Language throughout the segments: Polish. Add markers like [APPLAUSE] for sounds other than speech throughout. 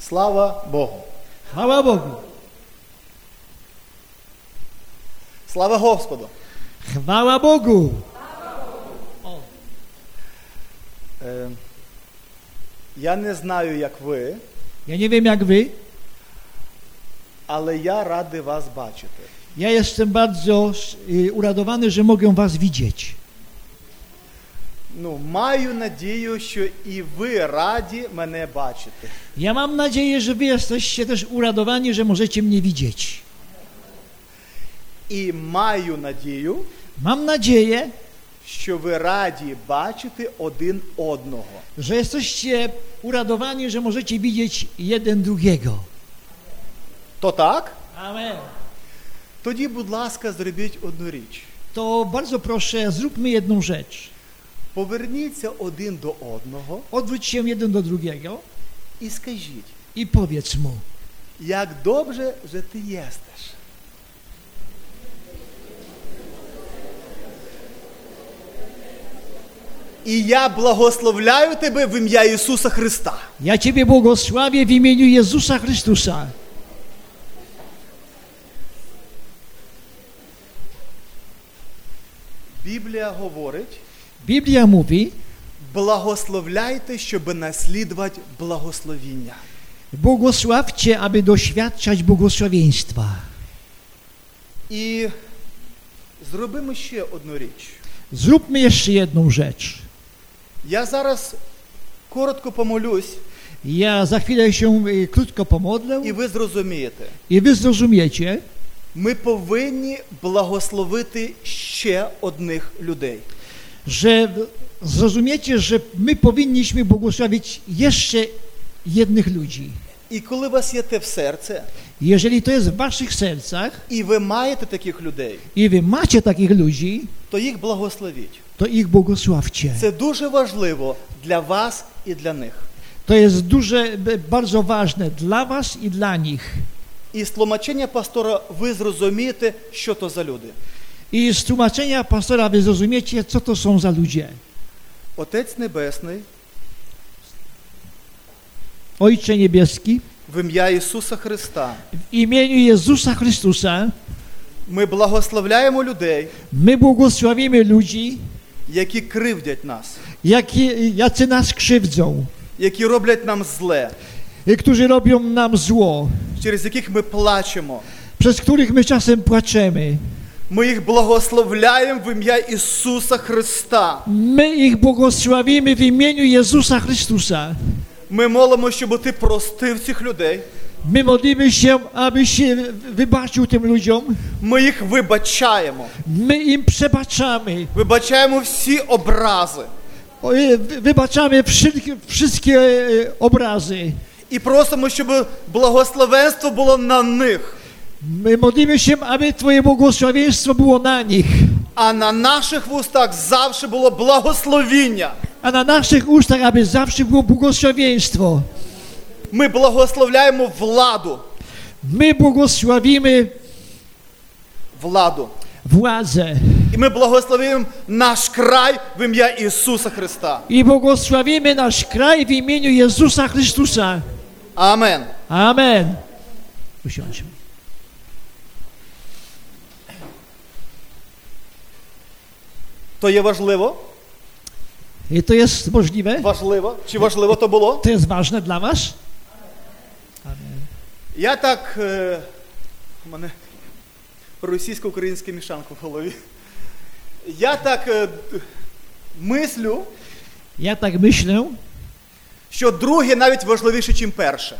Слава Богу! Хвала Богу! Слава Господу! Chwała Bogu! Е, я не знаю, як ви, Ja nie wiem jak wy, але я радий вас бачити. ja jestem bardzo y, uradowany, że mogę was widzieć. Ну, маю надію, що і ви раді мене бачити. Ja mam nadzieję, że wy jesteście też uradowani, że możecie mnie widzieć. І маю надію, Mam nadzieję, що ви раді бачити один одного. że jesteście uradowani, że możecie widzieć jeden drugiego. То так? Amen. Тоді, будь ласка, зробіть одну річ. To bardzo proszę, zróbmy jedną rzecz. Поверніться один до одного Odwróć się jeden do drugiego і скажіть, i powiedz mu, як добре, що ти єстеш. І я благословляю тебе в ім'я Ісуса Христа. ja Ciebie błogosławię w imieniu Jezusa Chrystusa. Біблія говорить, Biblia mówi, благословляйте, щоб наслідувати благословіння. Błogosławcie, aby doświadczać błogosławieństwa. І зробимо ще одну річ. Zróbmy jeszcze jedną rzecz. Я зараз коротко помолюсь, Ja za chwilę się y, krótko pomodlę і ви зрозумієте. i wy zrozumiecie, Ми повинні благословити ще одних людей. że zrozumiecie, że my powinniśmy błogosławić jeszcze jednych ludzi. І коли у вас є те в серце, Jeżeli to jest w waszych sercach і ви маєте таких людей, i wy macie takich ludzi, то їх благословіть. to ich błogosławcie. Це дуже важливо для вас і для них. To jest duże, b- bardzo ważne dla was i dla nich. І з тлумачення пастора ви зрозумієте, що то за люди. I z tłumaczenia pastora wy zrozumiecie, co to są za ludzie. Отець Небесний, Ojcze Niebieski, в ім'я Ісуса Христа, w imieniu Jezusa Chrystusa ми благословляємо людей, my błogosławimy ludzi, які кривдять нас, jakie, jacy nas krzywdzą, які robią nam złe, y, którzy robią nam zło, через яких ми плачемо. przez których my czasem płaczemy. Ми їх благословляємо в ім'я Ісуса Христа. My ich błogosławimy w imieniu Jezusa Chrystusa. Ми молимо, щоб ти простив цих людей. My modlimy się, abyś się wybaczył tym ludziom. Ми їх вибачаємо. My im przebaczamy. Вибачаємо всі образи. O, y, wy- Wybaczamy wszelkie- wszystkie y, obrazy. І просимо, щоб благословенство було на них, My modlimy się, aby Twoje błogosławieństwo było na nich. а на наших вустах завжди було благословіння. a na naszych ustach, aby zawsze było błogosławieństwo. Ми благословляємо владу. My błogosławimy владу. władzę І ми благословимо наш край в ім'я Ісуса Христа. i błogosławimy nasz kraj w imieniu Jezusa Chrystusa. Амен. Amen. Usiądźmy. То є важливо? I to jest możliwe? Важливо. Чи важливо то було? To jest ważne dla Was? Я так. Е, у мене російсько-українська мішанка в голові. Я так е, д- мислю, Ja tak myślę, що друге навіть важливіше, ніж перше.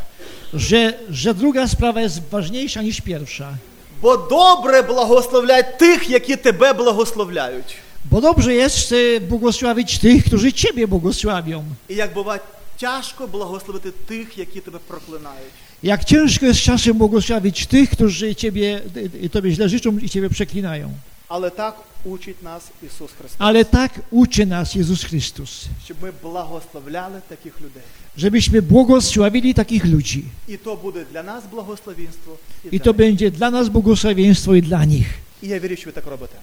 że, że druga sprawa jest ważniejsza niż pierwsza. Бо добре благословляй тих, які тебе благословляють. Bo dobrze jest e, błogosławić tych, którzy Ciebie błogosławią. І як бува, тяжко благословити тих, які тебе проклинають. Jak ciężko jest czasem błogosławić tych, którzy Ciebie, e, Tobie źle życzą i Ciebie przeklinają. Але так учить нас Ісус Христос, Ale tak uczy nas Jezus Chrystus, щоб ми благословляли таких людей. żebyśmy błogosławili takich ludzi. І то буде для нас благословінство. І, I для to них. będzie dla nas błogosławieństwo i dla nich. і я вірю, що ви так робите.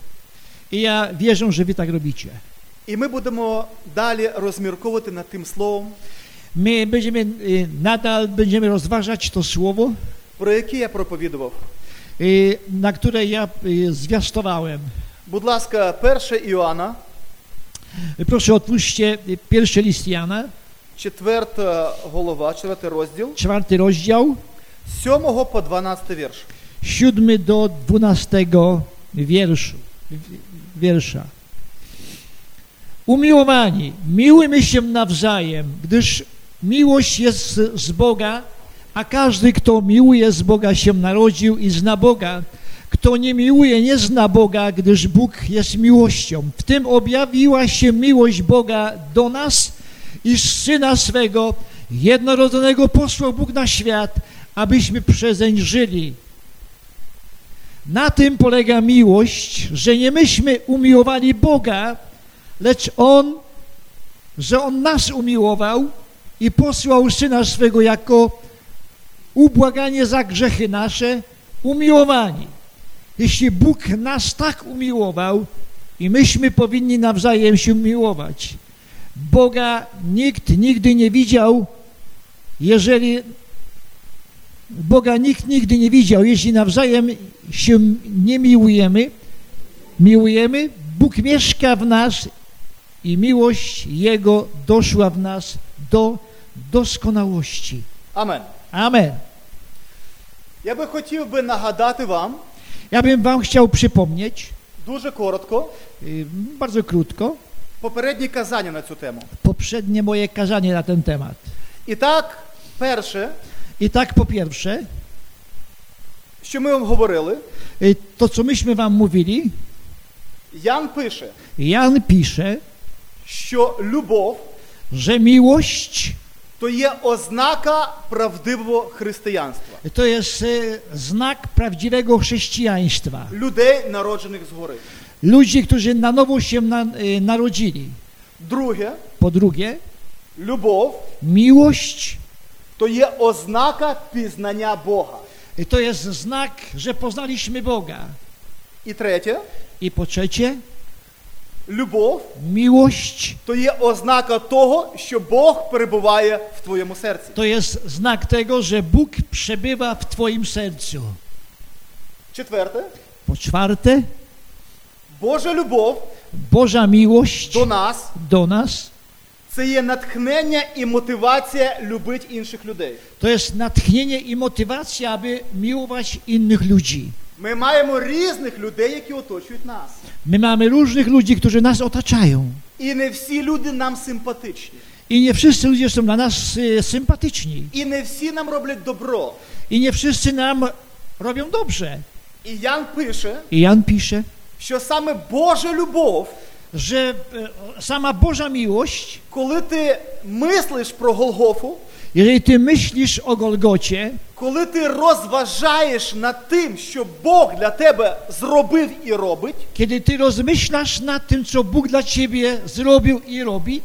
I ja wierzę, że wy tak robicie. І ми будемо далі розмірковувати над тим словом, My będziemy y, nadal będziemy rozważać to słowo, про яке я проповідував. y, na które ja y, zwiastowałem. Будь ласка, 1 Іоанна, Proszę otwórzcie y, pierwszy list Jana, 4 голова, 4 розділ, czwarty rozdział, з 7 по 12 вірш. siódmy do dwunastego wierszu, w- wiersza. Umiłowani, miłujmy się nawzajem, gdyż miłość jest z Boga, a każdy, kto miłuje z Boga się narodził i zna Boga. Kto nie miłuje, nie zna Boga, gdyż Bóg jest miłością. W tym objawiła się miłość Boga do nas, iż Syna swego jednorodzonego posłał Bóg na świat, abyśmy przezeń żyli. Na tym polega miłość, że nie myśmy umiłowali Boga, lecz On, że On nas umiłował i posłał Syna swego jako ubłaganie za grzechy nasze, umiłowani. Jeśli Bóg nas tak umiłował i myśmy powinni nawzajem się miłować. Boga nikt nigdy nie widział, jeżeli Boga nikt nigdy nie widział. Jeśli nawzajem się nie miłujemy, miłujemy, Bóg mieszka w nas i miłość Jego doszła w nas do doskonałości. Амен. Amen. Я би хотів би нагадати вам Ja bym Wam chciał przypomnieć, дуже коротко y, bardzo krótko, попередні казання на цю temu. poprzednie moje kazanie na ten temat. І так, перше, I tak po pierwsze, що ми вам говорили, y, to co myśmy Wam mówili, Ян пише, Jan pisze, що любов że miłość то є ознака правдивого християнства, To jest e, znak prawdziwego chrześcijaństwa. людей, народжених згори. Ludzi, którzy na nowo się na, e, narodzili. Друге, Po drugie, любов miłość то є ознака пізнання Бога. e, to jest znak, że poznaliśmy Boga. І третє, I po trzecie, любов miłość то є ознака того, що Бог перебуває в твоєму серці. to jest znak tego, że Bóg przebywa w Twoim sercu. Четверте, Po czwarte, Божа любов Boża miłość до нас do nas це є натхнення і мотивація любити інших людей. to jest natchnienie i motywacja, aby miłować innych ludzi. Ми маємо різних людей, які оточують нас. My mamy różnych ludzi, którzy nas otaczają. І не всі люди нам симпатичні. I nie wszyscy ludzie są dla nas y, sympatyczni. І не всі нам роблять добро. I nie wszyscy nam robią dobrze. І Ян пише, I Jan pisze, що sаме Божа любов, że y, sama Boża miłość, коли ти мислиш про Голгофу, jeżeli ty myślisz o Golgocie, коли ти розважаєш над тим, що Бог для тебе зробив і робить, kiedy ty rozmyślasz nad tym, co Bóg dla ciebie zrobił i robi,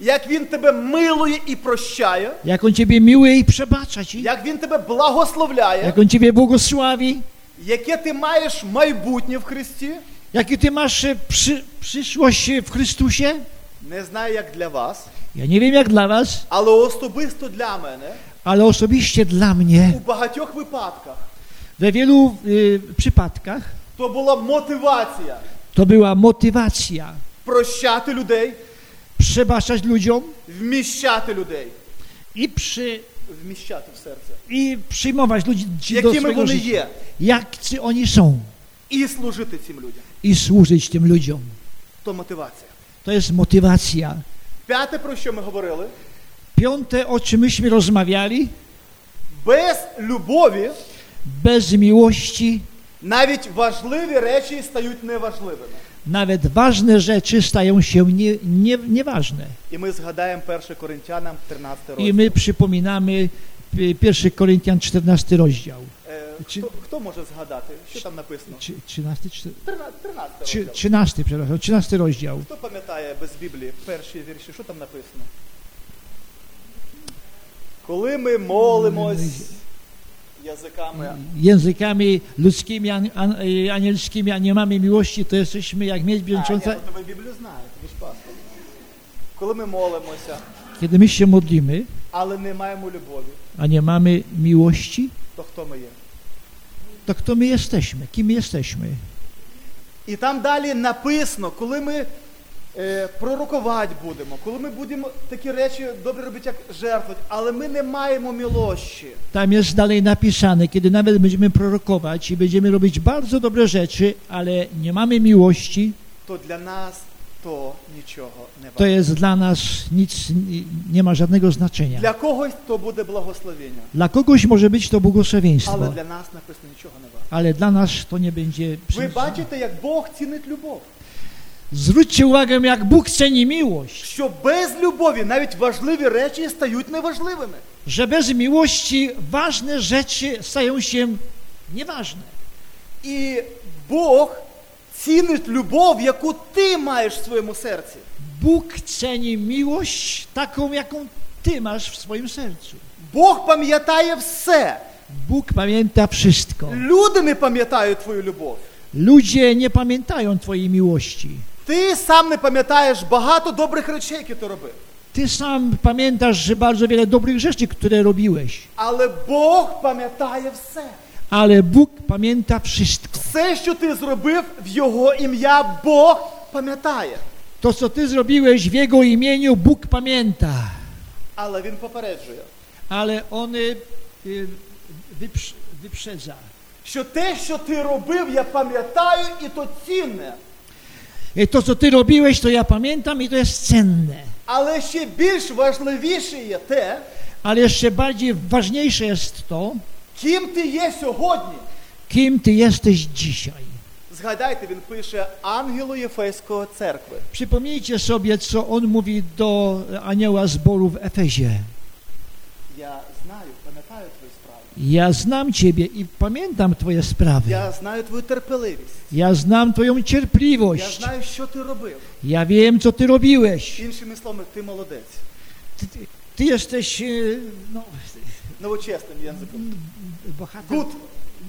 як Він тебе милує і прощає, jak On ciebie miłuje i przebacza ci, як Він тебе благословляє, jak On ciebie błogosławi, яке ти маєш майбутнє в Христі, jakie ty masz y, przy, przyszłość y, w Chrystusie. не знаю, як для вас, Ja nie wiem jak dla was, але особисто для мене ale osobiście dla mnie у багатьох випадках we wielu y, przypadkach то була мотивація To była motywacja прощати людей, przebaczać ludziom вміщати людей, i, przy, вміщати в серце, i przyjmować ludzi do якими swojego вони życia. є, Jacy oni są і служити цим людям. i służyć tym ludziom. То мотивація. To jest motywacja. П'яте, про що ми говорили, Piąte, o czym myśmy rozmawiali, без любові bez miłości навіть важливі речі стають неважливими. nawet ważne rzeczy stają się nie, nie, nieważne. І ми згадаємо 1 Коринтянам 13 розділ. I my przypominamy y, 1 Koryntian 14 rozdział. Е, Чи- хто, хто може zgadати, що там написано? Czy- 13, czter- 13, 13 czy- розділ. 13, przepraszam, 13 rozdział. Хто пам'ятає без Біблії перші вірші, що там написано? Коли ми молимось язиками. językami ludzkimi, an, an, y, anielskimi, a nie mamy miłości, to jesteśmy jak А, miedź ні, brzęcząca. ну, то ви Біблію знаєте, ви ж пастор. Коли ми молимося, Kiedy my się modlimy, але не маємо любові, a nie mamy miłości, то хто ми є? to kto my jesteśmy? Kim jesteśmy? І там далі написано, коли ми е, пророкувати будемо, коли ми будемо такі речі добре робити, як жертвувати, але ми не maємо милощі. Tam jest dalej napisane, kiedy nawet będziemy prorokować i będziemy robić bardzo dobre rzeczy, ale nie mamy miłości, то для нас то нічого не to варто. jest dla nas nic, ni- nie ma żadnego znaczenia. Для когось то буде благословення, Dla kogoś może być to але błogosławieństwo, для нас написано нічого не варто. ale dla nas to nie będzie Ви przyniosło. бачите, як Бог цінить любов. Zwróćcie uwagę, jak Bóg ceni miłość, Що без любові навіть важливі речі стають неважливими. że bez miłości ważne rzeczy stają się nieważne. І Бог цінить любов, яку ти маєш в своєму серці. Bóg ceni miłość taką, jaką ty masz w swoim sercu. Бог пам'ятає все. Bóg pamięta wszystko. Люди не пам'ятають твою любов. Ludzie nie pamiętają Twojej miłości. Ти сам не пам'ятаєш багато добрих речей, які ти робив. Ty sam pamiętasz że bardzo wiele dobrych rzeczy, które robiłeś, Але Бог пам'ятає все. ale Bóg pamięta wszystko. Все, що ти зробив в його ім'я, Бог пам'ятає. To, co Ty zrobiłeś w Jego imieniu, Bóg pamięta, Але він попереджує, ale On y, y, wyprz- wyprzedza. що те, що ти робив, я пам'ятаю, і то цінне. Y, To, co Ty robiłeś, to ja pamiętam i to jest cenne. Але ще більш важливіше є те, Ale jeszcze bardziej ważniejsze jest to, ким ти є сьогодні. kim Ty jesteś dzisiaj. Згадайте, він пише ангелу Єфейської церкви. Przypomnijcie sobie, co On mówi do anioła zboru w Efezie. Я знаю, пам'ятаю твою справу. Ja znam Ciebie i pamiętam Twoje sprawy. Я знаю твою терпеливість. Ja znam Twoją Я cierpliwość. знаю, що ти робив. Ja wiem, co Ty robiłeś. Іншими словами, ти молодець. Ty, ty, ty jesteś e, no, Новочесним язиком. bohater. Good.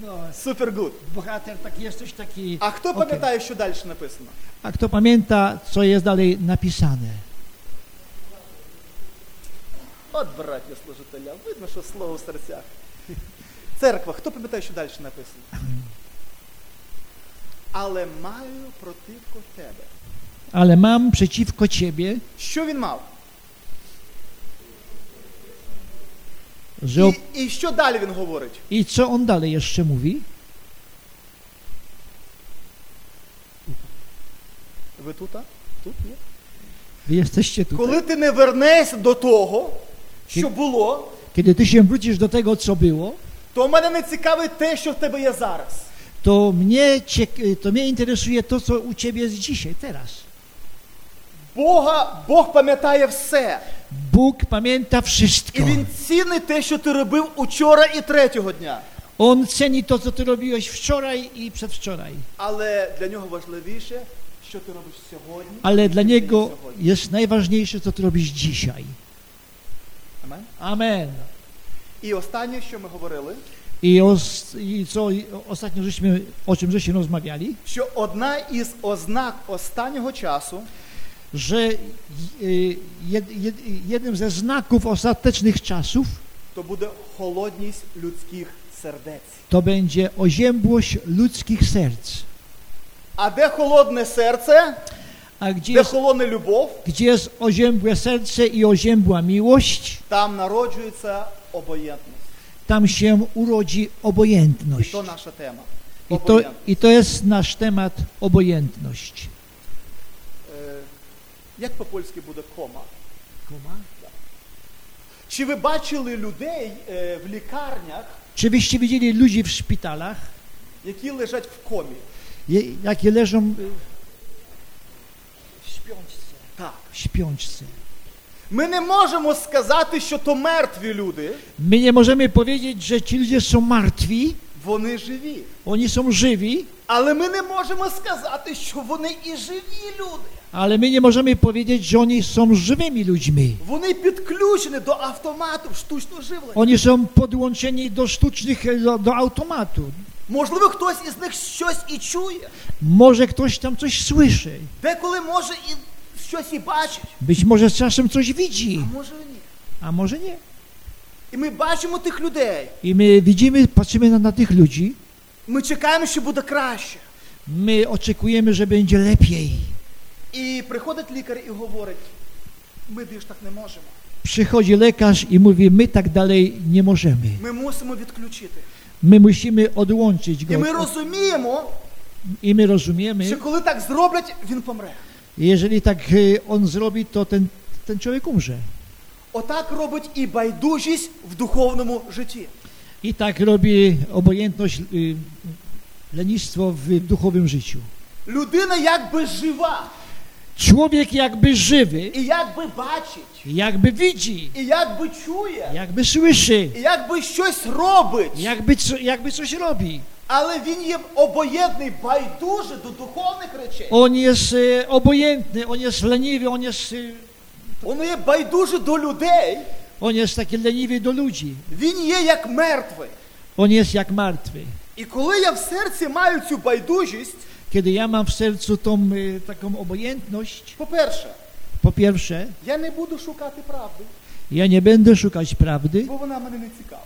No, Супергуд. bohater, tak, jesteś taki. А хто Окей. пам'ятає, що далі написано? A kto pamięta, co jest dalej napisane? От, браття служителя, видно, що слово в серцях. Церква, хто пам'ятає, що далі написано? Але маю противко тебе. Ale mam przeciwko Ciebie, Що він мав? że. І, Op- і що далі він говорить? I co on dalej jeszcze mówi? Ви тут? а? Тут є? Wy jesteście tutaj. Коли ти не вернешся до того, що було, Kiedy Ty się wrócisz do tego, co było, то мене не цікавить те, що в тебе є зараз. to mnie, ciek- to mnie interesuje to, co u Ciebie jest dzisiaj, teraz. Бога, Бог пам'ятає все. Bóg pamięta І wszystko. він цінить те, що ти робив учора і третього дня. On ceni to, co ty robiłeś wczoraj i przedwczoraj. Але для нього важливіше, що ти робиш сьогодні. Ale і що dla ти niego робиш сьогодні. jest najważniejsze, co ty robisz dzisiaj. Амен. Amen. І останнє, що ми говорили, I, os, i co i ostatnio żeśmy, o czym żeśmy rozmawiali, що одна із ознак останнього часу że y, jed, jed, jednym ze znaków ostatecznych czasów то буде холодність людських сердець. to będzie oziębłość ludzkich serc. А де холодне серце, A gdzie де jest, холодна любов, gdzie jest oziębłe serce i oziębła miłość, там народжується обоєнтність. tam się urodzi І obojętność. то наша тема. I to, Обоєнтність. I to jest nasz temat obojętność. Е, Як по-польськи буде кома? Чи ви бачили людей е, в лікарнях, Czy wyście widzieli ludzi w szpitalach, які лежать в комі? je, jakie leżą y, Так. w śpiączce? Ми не можемо сказати, що то мертві люди, My nie możemy powiedzieć, że ci ludzie są martwi, вони живі. oni są żywi, Але ми не можемо сказати, що вони і живі люди. ale my nie możemy powiedzieć, że oni są żywymi ludźmi. Вони підключені до автомату штучного живлення. Oni są podłączeni do sztucznych, e, do, do automatu. Можливо, хтось із них щось і чує. Może ktoś tam coś słyszy. Деколи може і щось і бачить, Być może z czasem coś widzi, а може і ні. a może nie. І ми бачимо тих людей. I my widzimy, patrzymy na, na tych ludzi, Ми чекаємо, що буде краще. my oczekujemy, że będzie lepiej. І приходить лікар і говорить: ми більш так не можемо. Przychodzi lekarz i mówi, my tak dalej nie możemy. Ми мусимо відключити. My musimy odłączyć І go. ми розуміємо, I my rozumiemy, що коли так зроблять, він помре. jeżeli tak y, on zrobi, to ten, ten człowiek umrze. Отак робить і байдужість в духовному житті. I tak robi obojętność, y, lenistwo w duchowym życiu. Людина якби жива, Człowiek jakby żywy, і якби бачить, jakby widzi, і якби чує, jakby słyszy, і якби щось робить, jakby, co- jakby coś robi. але він є обоєдний, байдуже до духовних речей. On jest y, obojętny, on jest leniwy, on jest, y, Він є байдуже до людей, on jest taki leniwy do ludzi. він є як мертвий. On jest jak martwy. І коли я в серці маю цю байдужість, Kiedy ja mam w sercu tą y, taką obojętność, по-перше, po pierwsze, я не буду szukати правди, ja nie będę szukać prawdy, бо вона мене не цікава.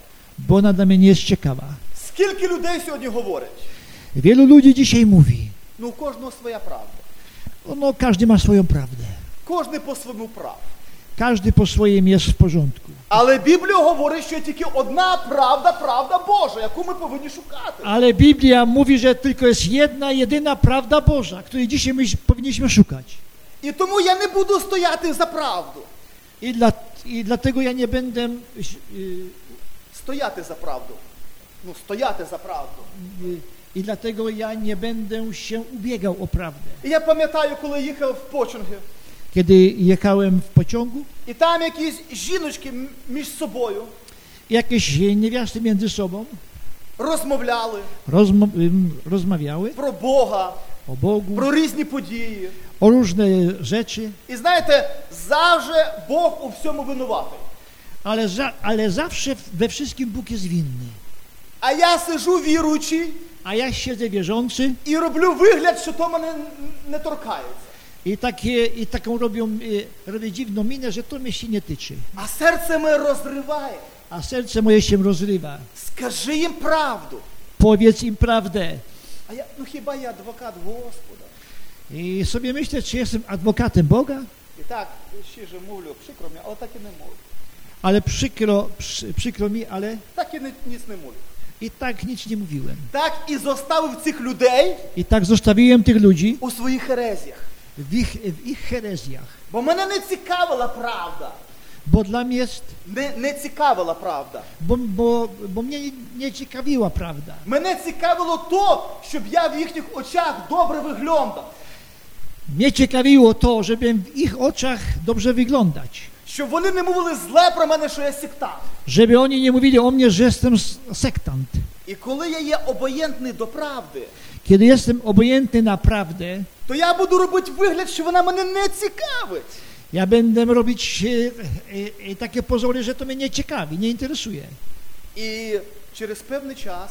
bo ona dla mnie nie jest ciekawa. Скільки людей сьогодні говорять? Wielu ludzi dzisiaj mówi, Ну, у кожного своя правда. no każdy ma swoją prawdę, Кожний по своєму праву. każdy po swoim jest w porządku. Але Біблія говорить, що є тільки одна правда, правда Божа, яку ми повинні шукати. Ale Biblia mówi, że tylko jest jedna, jedyna prawda Boża, której dzisiaj my powinniśmy szukać. І тому я не буду стояти за правду. I, dla, i dlatego ja nie będę y, Стояти за правду. Ну, стояти за правду. y, I dlatego ja nie będę się ubiegał o prawdę. І я пам'ятаю, коли їхав в починги, Kiedy jechałem w pociągu, і там якісь жіночки м- mіж собою jakieś niewiasty między sobą розмовляли rozma ym, rozmawiały про Бога, o Bogu, про різні події. o różne rzeczy, І знаєте, завжди Бог у всьому винуватий. ale, za ale zawsze we wszystkim Bóg jest winny. А я сижу віруючий A ja siedzę wierzący і роблю вигляд, що то мене н- не торкається. i, takie, i taką robią, y, robię dziwną minę, że to mnie się nie tyczy. А серце моє розриває. A serce moje się rozrywa. Скажи їм правду. Powiedz im prawdę. А я, ну хіба я адвокат Господа? I sobie myślę, czy jestem adwokatem Boga? І так, ще ж мовлю, прикро мені, але так і не мовлю. Ale przykro, przy, przykro mi, ale Так і не, ніц не мовлю. I tak nic nie mówiłem. Так і зоставив цих людей I tak zostawiłem tych ludzi у своїх ерезіях. w ich, w ich herezjach. Бо мене не цікавила правда. Bo dla mnie jest, Не, не цікавила правда. bo, bo, bo mnie nie- nie ciekawiła prawda. Мене цікавило то, щоб я в їхніх очах добре виглядав. Mnie ciekawiło to, żebym w ich oczach dobrze wyglądać. Щоб вони не мовили зле про мене, що я сектант. Żeby oni nie mówili o mnie, że jestem s- sektant. І коли я є обоєнтний до правди, Kiedy jestem obojętny na prawdę, то я буду робити вигляд, що вона мене не цікавить. ja będę robić e, e, e, takie pozory, że to mnie nie ciekawi, nie interesuje. І через певний час,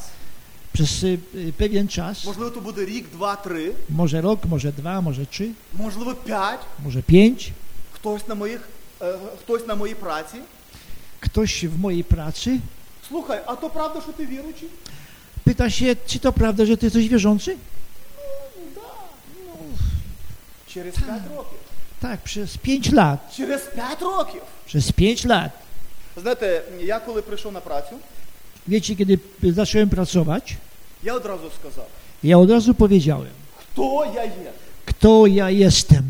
Przez e, e, pewien czas, можливо, то буде рік, два, три, może rok, може dwa, może trzy, можливо, п'ять, może pięć, хтось на моїх, е, хтось на моїй праці. ktoś w mojej pracy Слухай, а то правда, що ти віруючий? Pyta się, czy to prawda, że ty jesteś wierzący? Через п'ять років. Tak, przez pięć lat. Через п'ять років. Przez pięć lat. Знаєте, я коли прийшов на працю, Wiecie, kiedy zacząłem pracować, я одразу сказав, ja od razu powiedziałem, хто я є. kto ja jestem.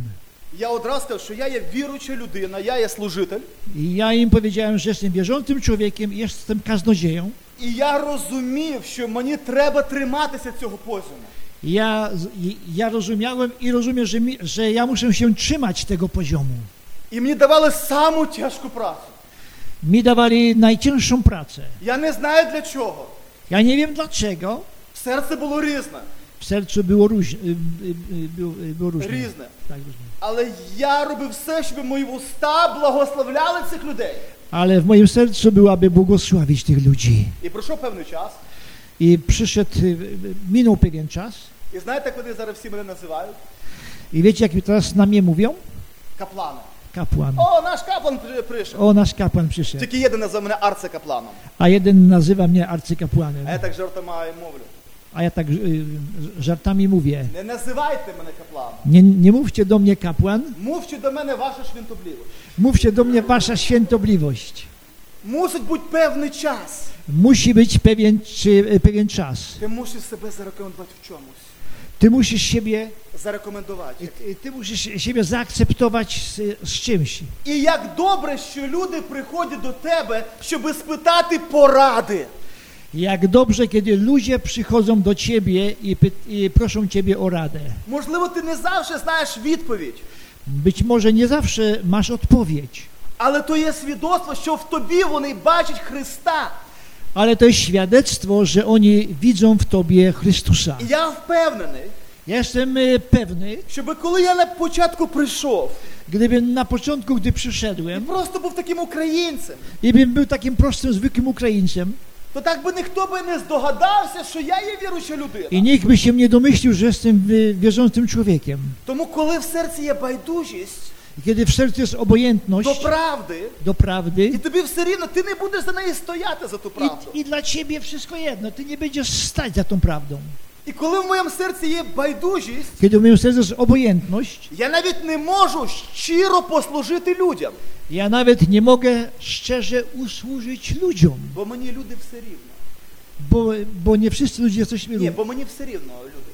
Я одразу сказав, що я є віруюча людина, я є служитель, I ja im powiedziałem, że jestem wierzącym człowiekiem, jestem kaznodzieją. і я розумів, що мені треба триматися цього позуму. Ja, i- ja rozumiałem i rozumiem, że, mi, że ja muszę się trzymać tego poziomu. І мені давали саму тяжку працю. Mi dawali najcięższą pracę. Я не знаю для чого. Ja nie wiem dlaczego. Серце було різне, W sercu było różne. y, Było, było różne. різне. Tak, różne. Але я робив все, щоб мої вуста благословляли цих людей. Ale w moim sercu byłaby błogosławić tych ludzi. І пройшов певний час. I przyszedł, y, y, minął pewien czas. І знаєте, як вони зараз всі мене називають? I wiecie, jak teraz na mnie mówią? каплана. kapłan. О, наш каплан при- прийшов. O, nasz kapłan przyszedł. Тільки єдине за мене арцекапланом. A jeden nazywa mnie arcykapłanem. А я так жартома і мовлю. A ja tak y, żartami mówię. Не називайте мене капланом. Nie, nie mówcie do mnie kapłan, Мовчі до мене ваша швинтоблівость. mówcie do mnie wasza świętobliwość. Мусить бути певний час. Musi być pewien, czy, e, pewien czas. Ти мусиш себе зарекомендувати в чомусь. Ty musisz siebie, Зарекомендувати. y, ty musisz siebie zaakceptować z, z czymś. І як добре, що люди приходять до тебе, щоб спитати поради. Jak dobrze, kiedy ludzie przychodzą do ciebie i, py, i proszą ciebie o radę. Можливо, ти не завжди знаєш відповідь, Być może nie zawsze masz odpowiedź, але то є свідоцтво, що в тобі вони бачать Христа. ale to jest świadectwo, że oni widzą w tobie Chrystusa. І я впевнений, Ja Jestem y, pewny, щоб коли я на початку прийшов gdybym na początku, gdy і przyszedłem просто був таким українцем, i bym był takim prostym, zwykłym Ukraińcem то так би ніхто би не здогадався, що я є віруюча i людина. nikt by się nie domyślił, że jestem y, wierzącym człowiekiem. Тому, коли в серці є байдужість Kiedy w sercu jest до obojętność правди, do і prawdy тобі все рівно, ти не будеш за неї стояти за ту правду. i, i dla ciebie wszystko jedno, ty nie będziesz stać za tą prawdą. І коли в моєму серці є байдужість, Kiedy w moim sercu jest obojętność, я навіть не можу щиро послужити людям, ja nawet nie mogę szczerze usłużyć ludziom, бо мені люди все рівно. bo, bo nie wszyscy ludzie jesteśmy Ні, równi. бо мені все рівно люди.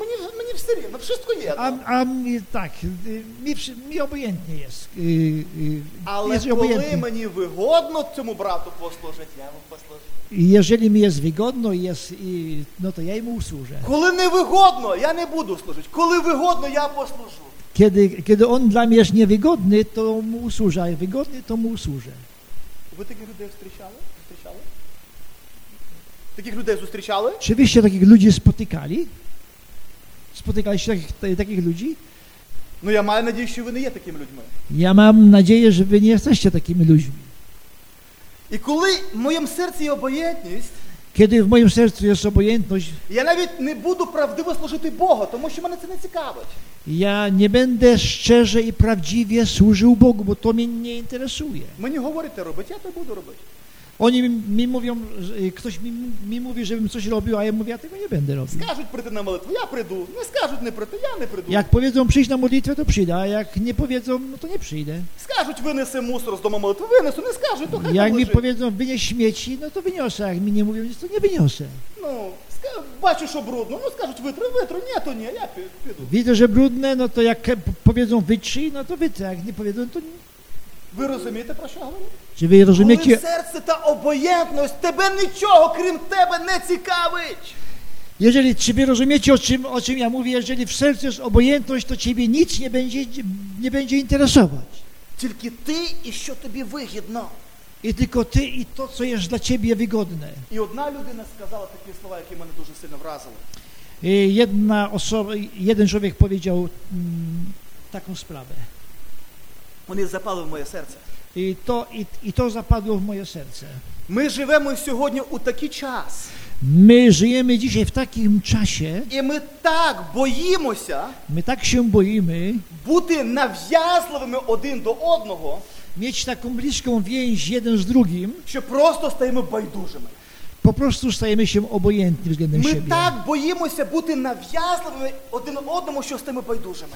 Мені, мені все рівно, wszystko є. A, a mi, tak, y, mi, przy- mi obojętnie jest. y, y, Але Jest коли obojętnie. мені вигодно цьому брату послужити, я йому послужу. Jeżeli mi jest wygodno i jest, i, no to ja im usłużę. Коли не вигодно, я не буду служити. Koли вигодно, я послужу. Kiedy, kiedy on dla mnie jest niewygodny, to mu usłużę, a jak wygodny, to mu usłużę. Ви таких людей зустрічали? Зустрічали? Takich людей зустрічали? Czy wyście takich ludzi spotykali? Spotykaliście takich, t- takich ludzi? Ну я маю надію, що ви не є такими людьми. Ja mam nadzieję, że wy nie jesteście takimi ludźmi. І коли в моєму серці є обоєтність, Kiedy w moim sercu jest obojętność, я навіть не буду правдиво служити Бога, тому що мене це не цікавить. ja nie będę szczerze i prawdziwie służył Bogu, bo то mnie nie interesuje. Мені говорите робити, я то й буду робити. Oni mi, mi mówią, że- y, ktoś mi, mi mówi, żebym coś robił, a ja mówię, ja tego nie będę robił. Скажуть прийти на молитву, я прийду. Не скажуть не прийти, я не прийду. Jak powiedzą przyjść na modlitwę, to przyjdę, a jak nie powiedzą, no to nie przyjdę. Скажуть, винеси мусор з дому молитви, винесу, не скажуть, то хай Jak там mi лежить. powiedzą wynieś śmieci, no to wyniosę, a jak mi nie mówią nic, to nie wyniosę. Ну, ска- бачу, що брудно, ну скажуть, витри, витру, ні, то ні, я пі- піду. Widzę, że brudne, no to jak p- powiedzą wytrzyj, no to wytrę, jak nie powiedzą, to nie. Ви розумієте, про що я говорю? Czy wy Коли rozumiecie? серце та обоєдність, тебе нічого, крім тебе, не цікавить. Jeżeli, czy wy rozumiecie, o czym, o czym ja mówię? Jeżeli w sercu jest obojętność, to ciebie nic nie będzie, nie będzie interesować. Тільки ти і що тобі вигідно. I tylko ty i to, co jest dla ciebie wygodne. І одна людина сказала такі слова, які мене дуже сильно вразили. I Jedna osoba, jeden człowiek powiedział mm, taką sprawę. Вони запали в моє серце. I to, i, I to zapadło w moje serce. Ми живемо сьогодні у такий час, My żyjemy dzisiaj w takim czasie, і ми так боїмося my tak się boimy бути нав'язливими один до одного, mieć taką bliską więź jeden z drugim, що просто стаємо байдужими. po prostu stajemy się obojętni względem Ми siebie. так боїмося бути нав'язливими один одному, що стаємо байдужими.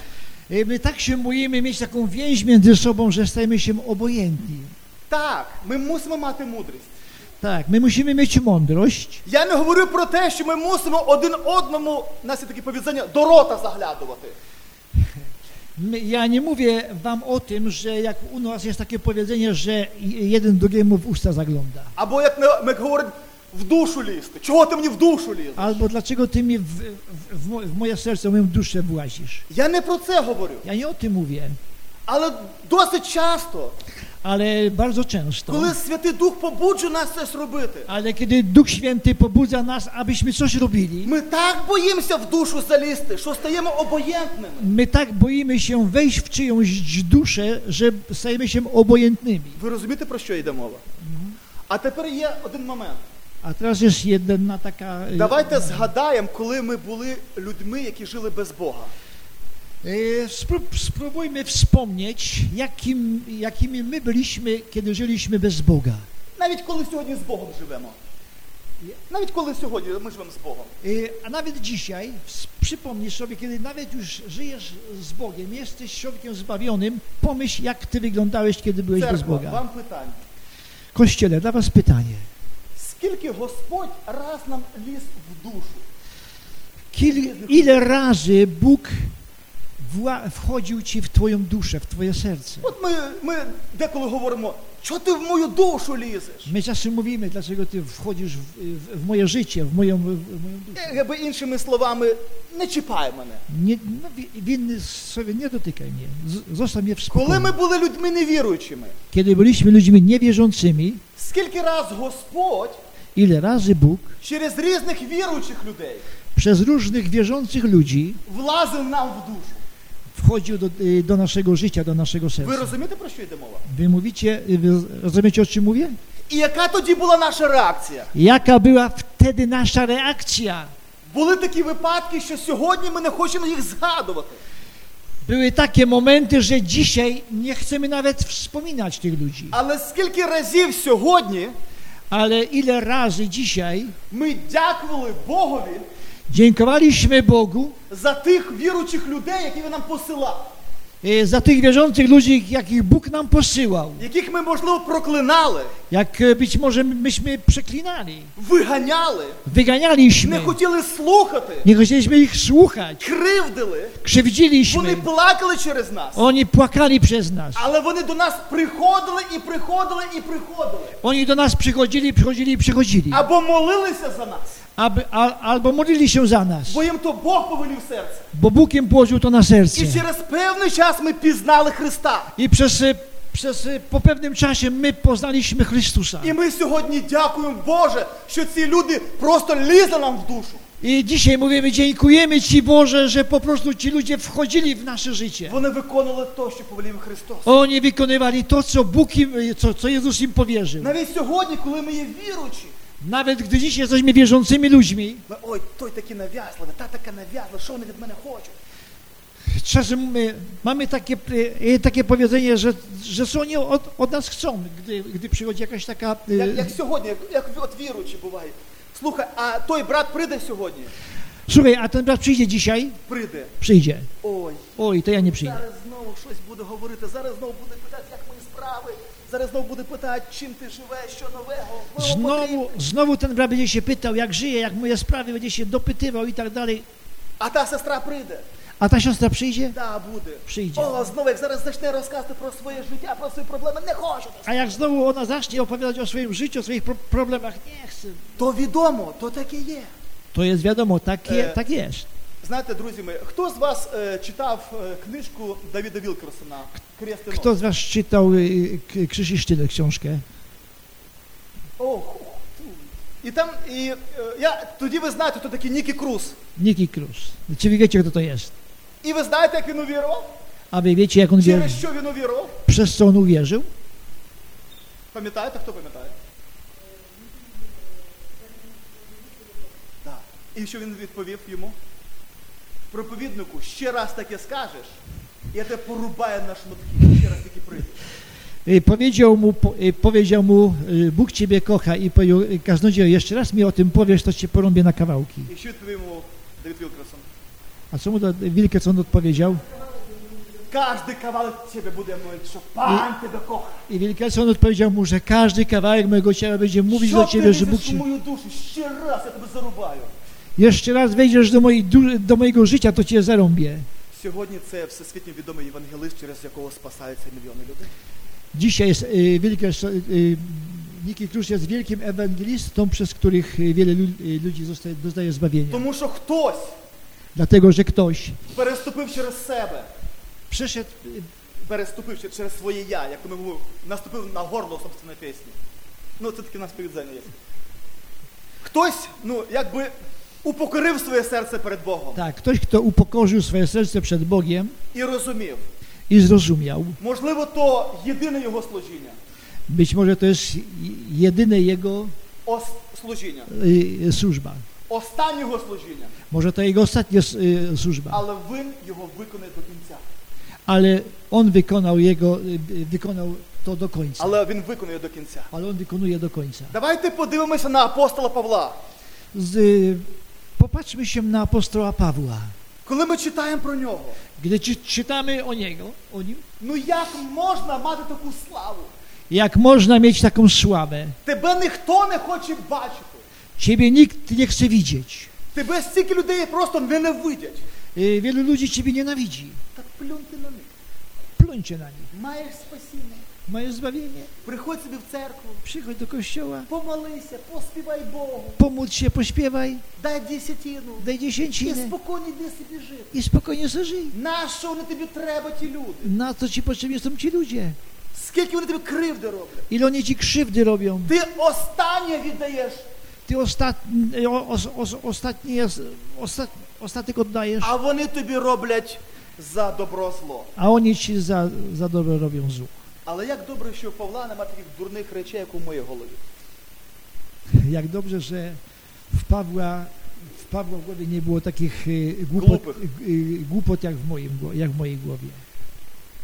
I My tak się boimy mieć taką więź między sobą, że stajemy się obojętni. Так, ми мусимо мати мудрість. Tak, my musimy mieć mądrość. Я не говорю про те, що ми мусимо один одному, у нас є такі повідзання, до рота заглядувати. My- Ja nie mówię wam o tym, że jak u nas jest takie powiedzenie, że jeden drugiemu w usta zagląda. Або як ми, ми говоримо, в душу лізти. Czого ти мені в душу лізеш? Albo dlaczego ty mi w, w, w, mo- w moje serce, w moją duszę włazisz. Я не про це говорю. Ja nie o tym mówię, Але досить часто, ale bardzo często. коли Святий Дух побуджує нас щось робити, Ale kiedy Duch Święty pobudza nas, abyśmy coś robili, ми так боїмося в душу залізти, що стаємо обоєнтними. my tak boimy się wejść w czyjąś duszę, że stajemy się obojętnymi. Ви розумієте, про що йде мова? А тепер є один момент. A teraz jest jedna taka... y, Давайте згадаємо, коли ми були людьми, які жили без Бога. E, spró- Spróbujmy wspomnieć, jakim, jakimi my byliśmy, kiedy żyliśmy bez Boga. Навіть коли сьогодні з Богом живемо. Навіть коли сьогодні ми живемо з Богом. E, A nawet dzisiaj s- przypomnij sobie, kiedy nawet już żyjesz z Bogiem, jesteś człowiekiem zbawionym, pomyśl, jak ty wyglądałeś, kiedy byłeś bez Церква, Boga. вам питання. Kościele, dla was pytanie. Скільки Господь раз нам ліз в душу? Kil, ile razy Bóg wła- wchodził ci w twoją duszę, w twoje serce? От ми, ми деколи говоримо, що ти в мою душу лізеш? My czasem mówimy, dlaczego ty wchodzisz w, w, w moje życie, w moją, w moją duszę. Е, Якби іншими словами, не чіпай мене. Nie, no, wi- winny sobie nie dotykaj mnie. Z- Zostaw mnie w Коли spokoju. ми були людьми невіруючими, Kiedy byliśmy ludźmi niewierzącymi, скільки раз Господь ile razy Bóg через різних віруючих людей przez różnych wierzących ludzi влазив нам в душу. wchodził do, y, do naszego życia, do naszego Ви serca. розумієте, про що йде мова? Wy mówicie, y, wy rozumiecie o czym mówię? І яка тоді була наша реакція? Jaka była wtedy nasza reakcja? Були такі випадки, що сьогодні ми не хочемо їх згадувати. Były takie momenty, że dzisiaj nie chcemy nawet wspominać tych ludzi. Але скільки разів сьогодні Ale ile razy dzisiaj ми дякували Богові dziękowaliśmy Bogu за тих віруючих людей, які він нам посилав, y, za tych wierzących ludzi, jakich Bóg nam posyłał. яких ми, можливо, проклинали, Jak e, być może myśmy przeklinali, виганяли, не wyganialiśmy, хотіли слухати, nie chcieliśmy ich słuchać, кривдили, вони krzywdziliśmy, плакали через нас. oni płakali przez nas. Але вони до нас приходили і приходили і приходили. Oni do nas przychodzili, przychodzili i przychodzili, Або молилися за нас, aby, a, albo modlili się za nas, бо їм то Бог повелів серце. bo Bóg im położył to na serce. І через певний час ми пізнали Христа. I przez, e, przez e, po pewnym czasie my poznaliśmy Chrystusa. І ми сьогодні дякуємо Боже, що ці люди просто лізли нам в душу. I dzisiaj mówimy, dziękujemy Ci Boże, że po prostu ci ludzie wchodzili w nasze życie. Вони виконували те, що повелів Христос. Oni wykonywali to, co Bóg im, co, co Jezus im powierzył. Навіть сьогодні, коли ми є віручі, Nawet gdy dziś jesteśmy wierzącymi ludźmi, ми ой, той такі нав'язливі, та така нав'язлива, що вони від мене хочуть. czasem my mamy takie, e, takie powiedzenie, że, że co oni od, od nas chcą, gdy, gdy przychodzi jakaś taka... e, Як, як sьогодні, як, як от віручі буває. Слухай, а той брат прийде сьогодні? Słuchaj, a ten brat przyjdzie dzisiaj? Прийде. Przyjdzie. Ой, Oj, to ja nie przyjdę. зараз знову щось буде говорити, зараз знову буде питати, як мої справи, зараз знову буде питати, чим ти живеш, що нового. Ми вам потрібні. Znowu, znowu ten brat będzie się pytał, jak żyje, jak moje sprawy, będzie się dopytywał i tak dalej. А та сестра прийде. A ta siostra przyjdzie? Да, буде. Przyjdzie. О, знову як зараз почне розказувати про своє життя, про свої проблеми. Не хочу. A jak znowu ona zacznie opowiadać o swoim życiu, o swoich pro problemach, nie chcę. То відомо, то таке є. To jest wiadomo, tak, je, E. tak jest. Знаєте, друзі мої, хто з вас е, читав е, книжку Давіда Вілкерсона «Крест і нож»? Kto z Was czytał y, K- Krzyż i Sztylet książkę? О, ху- ту. І там, і е, я тоді ви знаєте, хто такий Нікі Круз. Niki Cruz. Czy Wy wiecie, kto to jest? І ви знаєте, як він увірував? A Wy wiecie, jak on Через wierzył? що він увірував? Przez co on uwierzył? Пам'ятаєте, хто пам'ятає? Да. І що він відповів йому? Проповіднику, ще раз таке скажеш, я тебе порубаю на шматки, ще раз таки прийдеш. Y, Powiedział mu, po- y, powiedział mu y, Bóg Ciebie kocha i powiedział, y, kaznodziejo, jeszcze raz mi o tym powiesz, to Cię porąbię na kawałki. І що відповів йому Давид Вілкерсон? A co mu do- Wilkerson odpowiedział? Кожний кавалик тебе буде мовити, що пан тебе кохає. I Wilkerson odpowiedział mu, że każdy kawałek mojego ciała będzie mówić Що do ти Ciebie, że Bóg лізеш в Cię... мою душу? Ще раз я тебе зарубаю. Jeszcze raz wejdziesz do, mojej, du- do mojego życia, to Cię zarąbię. Сьогодні це всесвітньо відомий євангелист, через якого спасаються мільйони людей. Dzisiaj jest y, Wilkerson, y, Niki Cruz jest wielkim ewangelistą, przez których y, wiele lu- y, ludzi zostaje, dostaje zbawienia. Тому що хтось Dlatego, że ktoś переступив через себе. przeszedł, y, переступив ще через своє я, як ми говоримо, наступив на горло собственної пісні. Ну, це таке у нас повідзення є. Хтось, ну, якби упокорив своє серце перед Богом tak, ktoś, kto upokorzył swoje serce przed Bogiem і розумів. i zrozumiał. Можливо, то єдине його служіння, Być może to jest jedyne jego ос, служіння, y, służba. останнього slужіння, Może to jego ostatnia s- y, służba, але він його виконає до кінця. ale on wykonał jego, y, y, wykonał to do końca. Але він виконує до кінця. Ale on wykonuje do końca. Давайте подивимося на апостола Павла. Z, y, popatrzmy się na apostoła Pawła. Коли ми читаємо про нього, Gdy czy, czytamy o niego, o nim, ну як можна мати таку славу? jak można mieć taką sławę. Тебе ніхто не хоче бачити. Ciebie nikt nie chce widzieć. Тебе стільки людей просто ненавидять. Y, Wielu ludzi ciebie nienawidzi. Та плюнь ти на них. Pluńcie na nich. Маєш спасіння. Mają zbawienie. Приходь собі в церкву, Przychodź do kościoła, помолися, поспівай Богу, pomódl się, pośpiewaj, дай десятину. daj І dziesięcinę спокійно йди собі жити. i spokojnie sobie żyj. На що вони тобі треба, ті люди? Na co ci potrzebni są ci ludzie? Скільки вони тобі кривди роблять? Ile oni ci krzywdy robią? Ти останнє віддаєш, Ty ostatni, o, os, os, ostatni jest, ostat, ostatek oddajesz, а вони тобі роблять за добро зло. a oni ci za, za dobro robią zło. Але як добре, що у Павла немає таких дурних речей, як у моїй голові. Jak dobrze, że w Pawła, w Pawła głowie nie było takich y, głupot, Głupych. y, y, głupot jak, w moim, gło- jak w mojej głowie.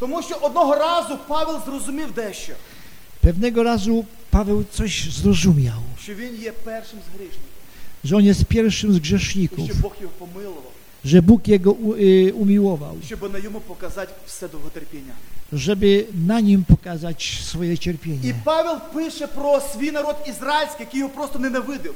Тому що одного разу Павел зрозумів дещо, Pewnego razu Paweł coś zrozumiał, що він є першим з грішників, że on jest pierwszym z і grzeszników, що Бог його помилував, że Bóg jego u, y, umiłował, щоб на йому показати все довготерпіння. żeby na nim pokazać swoje І cierpienie. Павел пише про свій народ ізраїльський, який його просто ненавидив.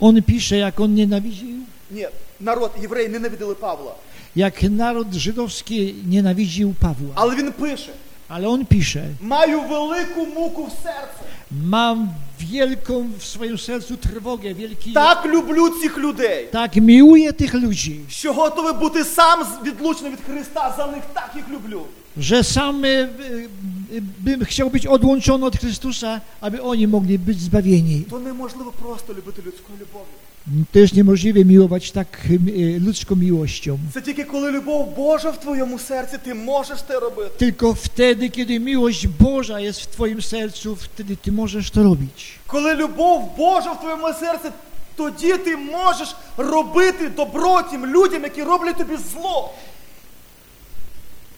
On pisze, jak on nienawidził, Ні, народ, євреї ненавиділи Павла. jak naród żydowski nienawidził Pawła. Але він пише: Ale on pisze, маю велику муку в серці. mam wielką w swoim sercu trwogę, wielki... Так люблю цих людей, Tak miłuję tych ludzi, що готовий бути сам з- відлучений від Христа. За них так їх люблю. że sam y, y, y, bym chciał być odłączony od Chrystusa, aby oni mogli być zbawieni. То неможливо просто любити людською любов'ю. To jest niemożliwe miłować tak y, ludzką miłością. Це тільки коли любов Божа в твоєму серці, ти можеш це робити. Tylko wtedy, kiedy miłość Boża jest w Twoim sercu, wtedy Ty możesz to robić. Коли любов Божа в твоєму серці, тоді ти можеш робити добро тим людям, які роблять тобі зло.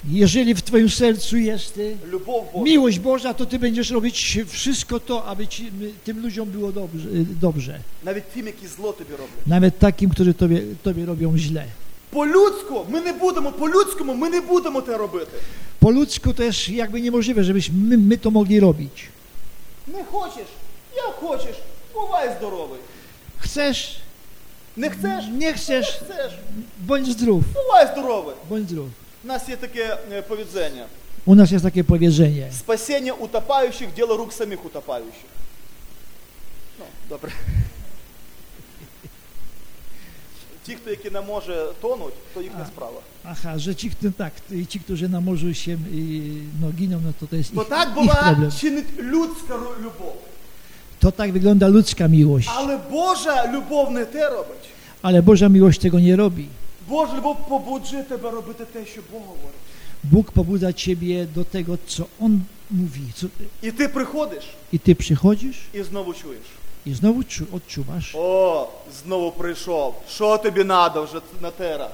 Jeżeli w Twoim sercu jest y, Любов Божа. miłość Boża, to Ty będziesz robić wszystko to, aby ci, y, tym ludziom było dobrze, y, dobrze. Навіть тим, які зло тобі роблять. Nawet takim, którzy Tobie, tobie robią źle. По-людську ми не будемо, по-людському ми не budемо те робити. Po ludzku to jest jakby niemożliwe, żebyśmy my, my to mogli robić. Не хочеш, як хочеш, бувай здоровий. Chcesz, Не chcеш? nie chcesz, Chcеш, bądź zdrów, бувай здоровий. bądź zdrów. У нас є таке е, повідзення. U nas jest takie powiedzenie. Спасіння утопаючих діло рук самих утопаючих. Ну, добре. Ті, хто які не може тонуть, то їхня А. справа. Aha, że ci, którzy- tak, ci którzy na morzu się y, no, giną, no to to jest ich, Бо так ich problem. була чинить людська ру- любов. To tak wygląda ludzka miłość. Але Божа любов не те робить. Ale Boża miłość tego nie robi. Божа любов побуджує тебе робити те, що Бог говорить. Bóg pobudza ciebie do tego, co On mówi. Co, І ти приходиш I ty przychodzisz і знову чуєш. i znowu czu, odczuwasz. О, знову прийшов. Що тобі надо вже на те раз?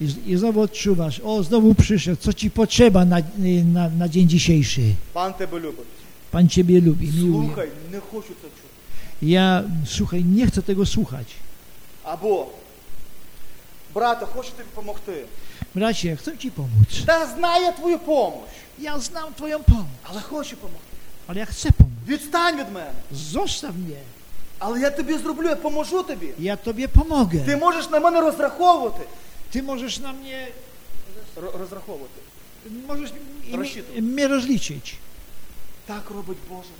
I, z- I znowu odczuwasz. O, znowu przyszedł. Co ci potrzeba na, y, na, na dzień dzisiejszy? Пан тебе любить. Pan ciebie lubi, miłuje. Слухай, не хочу це чути. Ja, słuchaj, nie chcę tego słuchać. Або брате, хочу тобі допомогти. Bracie, chcę ci pomóc. Та знаю я твою помощь, Ja znam twoją pomoc, але хочу допомогти. ale ja chcę pomóc. Відстань від мене. Zostaw mnie. Але я тобі зроблю, я поможу тобі. Ja tobie pomogę. Ти можеш на мене розраховувати. Ty możesz na mnie, Ро- розраховувати. możesz mi- Rozczytuj. mi- mnie rozliczyć. Так робить Боже.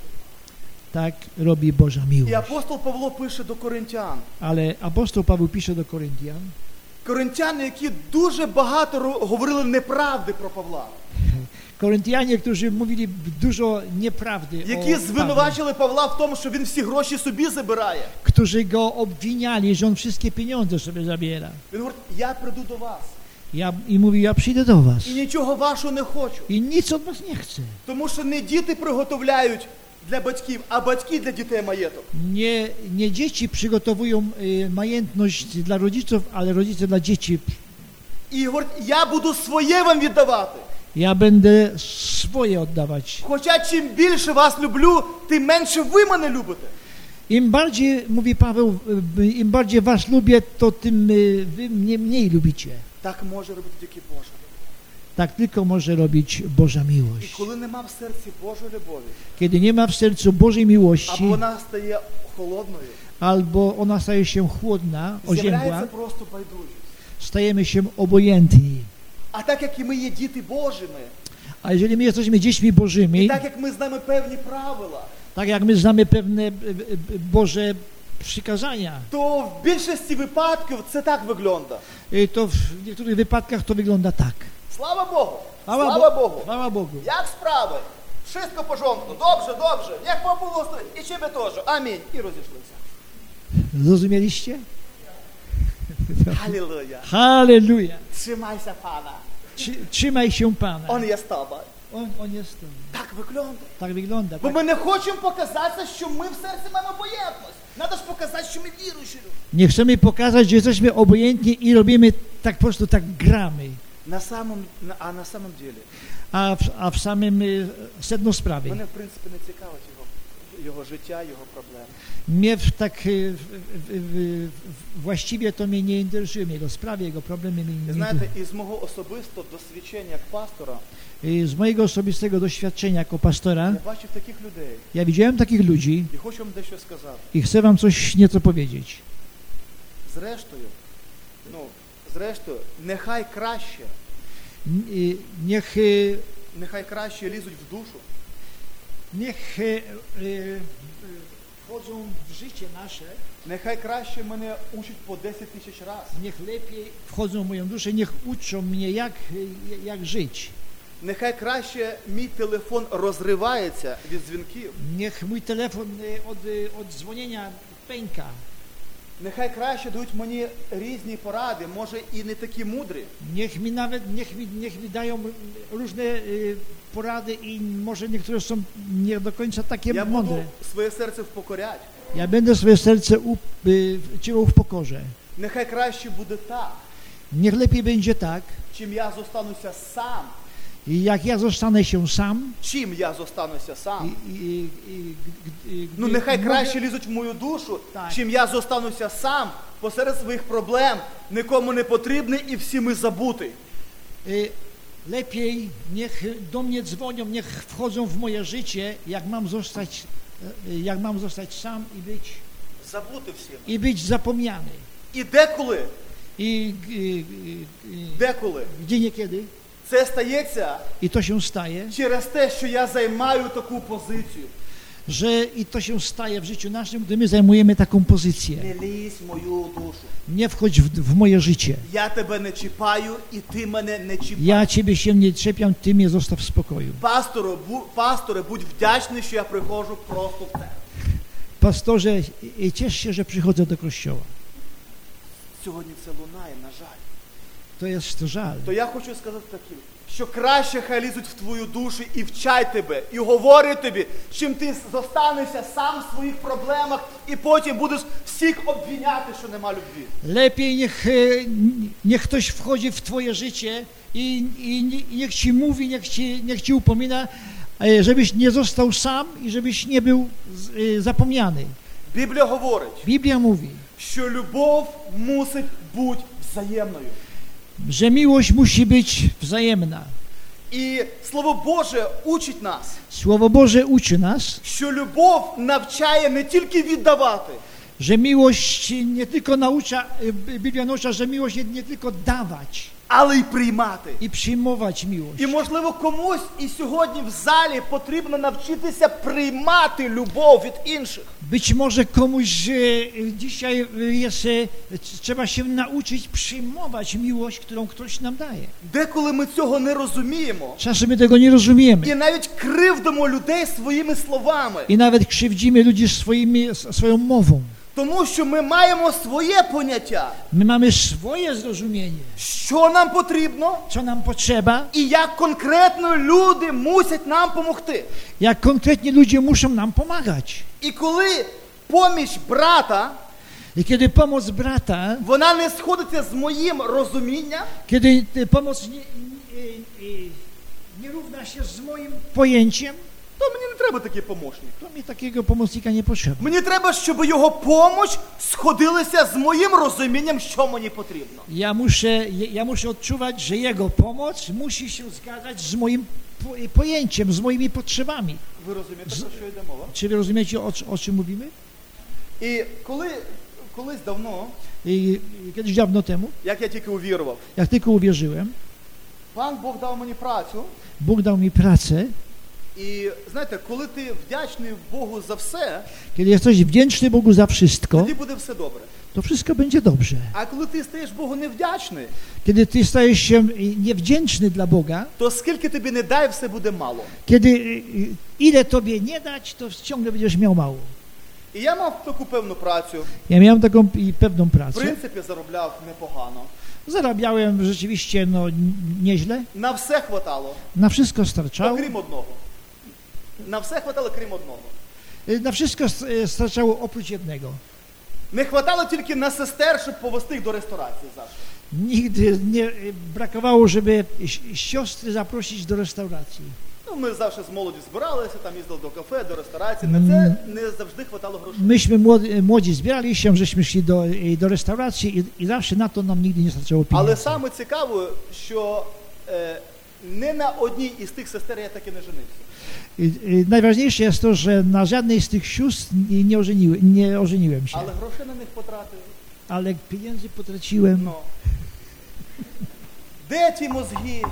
Tak robi Boża І miłość. апостол Павло пише до коринтян. Ale apostoł Paweł pisze do Koryntian, Коринтяни, які дуже багато ро- говорили неправди про Павла. Koryntianie, którzy mówili dużo nieprawdy які o Pawle, звинувачили Павла в тому, що він всі гроші собі забирає. którzy go obwiniali, że on wszystkie pieniądze sobie zabiera. Він говорить, я прийду до вас Ja, I mówi, ja przyjdę do was і нічого вашого не хочу, i nic od was nie chcę, тому що не діти приготовляють для батьків, а батьки для дітей маєток. Nie, nie dzieci przygotowują y, majętność dla rodziców, ale rodzice dla dzieci. І говорить, я буду своє вам віддавати. Ja będę swoje oddawać. Хоча чим більше вас люблю, тим менше ви мене любите. Im bardziej, mówi Paweł, y, im bardziej was lubię, to tym y, wy mnie mniej lubicie. Так може робити тільки Божа. Tak tylko może robić Boża І miłość. коли нема в серці Божої любові, Kiedy nie ma w sercu Bożej miłości, або вона стає холодною, albo ona staje się chłodna, з'являється oziębła, просто байдужість. stajemy się obojętni. А так як і ми є діти Божими, A jeżeli my jesteśmy dziećmi і Bożymi, так як ми знаємо певні правила, tak jak my znamy pewne e, e, Boże przykazania, то в більшості випадків це так wygląda. e, to w niektórych wypadkach to wygląda tak. Слава Богу! Chwała Слава Bo- Богу! Chwała Bogu. Як справи? Wszystko в porządku, dobrze, dobrze, niech Pan błogosławi i Ciebie też, amin. I rozeszliśmy. Zrozumieliście? Алілуя. Halleluja. Trzymajся Pana, Trzy- Trzymaj się Pana. On jest z Tobą. On, on jest. tym. Так виглядає. Tak wygląda. Бо Tak. ми не хочемо показатися, що ми в серці маємо боєтність. Надо ж показати, що ми віруючі люди. Nie chcemy pokazać, że jesteśmy obojętni i robimy tak po prostu, tak gramy. На самом, на- а на самом деле, A w, a w samym y, sedno sprawy. мене в принципі не цікавить його, його життя, його проблеми. Mnie w, tak y, w, w, w, w, właściwie to mnie nie interesują jego sprawy, jego problemy mnie І nie знаєте, із мого особистого досвідчення як пастора, Y, Z mojego osobistego doświadczenia jako pastora, я bачив таких людей. ja widziałem takich ludzi І хочу вам дещо сказати. i chcę wam coś nieco powiedzieć. Зрештою, ну, зрештою, нехай краще, N- y, Niech, y, нехай краще лізуть в душу, niech y, y, wchodzą w życie nasze, нехай краще мене учать по 10 тисяч разів. niech lepiej wchodzą w moją duszę, niech uczą mnie jak, y, jak żyć. Нехай краще мій телефон розривається від дзвінків. Niech mój telefon y, od, y, od dzwonienia pęka. Нехай краще дають мені різні поради, може і не такі мудрі, Niech mi nawet, niech mi, niech mi dają różne y, porady i może niektóre są nie do końca takie Я mądre. буду своє серце впокоряти. Ja będę swoje serce up, y, trzymał w pokorze. Нехай краще буде так, Niech lepiej będzie tak, чим я зостануся сам, jak ja zostanę się sam. чим я зостануся сам. I, i, i, g- i, Ну gdy нехай mogę- краще лізуть в мою душу, Так. чим я зостануся сам посеред своїх проблем, нікому не потрібний і всі ми забути. y, lepiej niech do mnie dzwonią, niech wchodzą w moje życie, jak mam zostać, y, jak mam zostać sam i być, Забути всім. i być zapomniany. І деколи, I, y, y, y, деколи gdzie niekiedy. це стається I to się staje, через те, що я займаю таку позицію. że i to się staje w życiu naszym, gdy my zajmujemy taką pozycję. Не лізь в мою душу. Nie wchodź w, w moje życie. Я тебе не чіпаю, і ти мене не чіпай. Ja ciebie się nie czepiam, ty mnie zostaw w spokoju. Пасторе, бу, пасторе, будь вдячний, що я приходжу просто в тебе. Pastorze, i- i ciesz się, że przychodzę do kościoła. Сьогодні це лунає, на жаль. To jest żal. То я хочу сказати таким, що краще хай лізуть в твою душу і вчать тебе, і говорять тобі, чим ти зостанешся сам в своїх проблемах, і потім будеш всіх обвіняти, що нема любві. Lepiej niech, e, niech ktoś wchodzi w twoje życie i, i nie- i niech ci mówi, niech ci, niech ci upomina, e, żebyś nie został sam i żebyś nie był z- e, zapomniany. Біблія говорить, Biblia mówi, що любов мусить бути взаємною. że miłość musi być wzajemna. І Слово Боже учить нас. Słowo Boże uczy nas, що любов навчає не тільки віддавати, że miłość nie tylko naucza, y, Biblia naucza, że miłość nie, nie tylko dawać але й приймати. i przyjmować miłość. І можливо комусь і сьогодні в залі потрібно навчитися приймати любов від інших. Być może komuś y, y, dzisiaj y, jest, y, c- trzeba się nauczyć przyjmować miłość, którą ktoś nam daje. Деколи ми цього не розуміємо Czasem my tego nie rozumiemy і навіть кривдимо людей своїми словами, i nawet krzywdzimy ludzi swoimi, s- swoją mową. тому що ми маємо своє поняття, My mamy swoje zrozumienie, що нам potrzebno co nam potrzeba, і як конкретно люди мусять нам допомогти. jak konkretnie ludzie muszą nam pomagać. І коли поміч брата, I kiedy pomoc brata, вона не сходиться з моїм rozумінням, kiedy y, pomoc nie, y, y, nie równa się z moim pojęciem, то мені не треба такий помощник. to mi takiego pomocnika nie potrzeba. Мені треба, щоб його помощь сходилася з моїм розумінням, що мені потрібно. Ja muszę, ja muszę odczuwać, że jego pomoc musi się zgadzać z moim po- y, pojęciem, z moimi potrzebami. Ви розумієте, про що йде мова? Czy wy rozumiecie, o, o czym mówimy? І коли колись давно, I, i Y, kiedyś dawno temu, як я тільки увірував, jak tylko uwierzyłem, пан Бог дав мені працю. Bóg dał mi pracę. І знаєте, коли ти вдячний Богу за все, Kiedy jesteś wdzięczny Bogu za wszystko, тоді буде все добре. to wszystko będzie dobrze. А коли ти стаєш Богу невдячний, Kiedy ty stajesz się y, niewdzięczny dla Boga, то скільки тобі не дай, все буде мало. Kiedy y, y, ile tobie nie dać, to ciągle będziesz miał mało. І я мав таку певну працю, Ja miałem taką i pewną в pracę. принципі, заробляв непогано. Zarabiałem rzeczywiście no, n- nieźle. На все хватало, Na wszystko starczało. окрім одного. На все хватало, крім одного. Y, Na wszystko s- y, starczało oprócz jednego. Не хватало тільки на сестер, щоб повести їх до restauracji завжди. Nigdy nie y, brakowało, żeby si- siostry zaprosić do restauracji. Ну, ми завжди з молоді збиралися, там їздили до кафе, до ресторації. На це не завжди хватало грошей. Myśmy młodzi, młodzi zbierali się, żeśmy szli do, y, do restauracji i, i zawsze na to nam nigdy nie starczało Але pieniędzy. саме цікаво, що е, не на одній із тих сестер я таки не женився. Y, y, Najważniejsze jest to, że na żadnej z tych sióstr nie, nie, ożeniły, nie ożeniłem się. Але грошей на них потратив. ale pieniędzy potraciłem. Ну. Де ті мозги?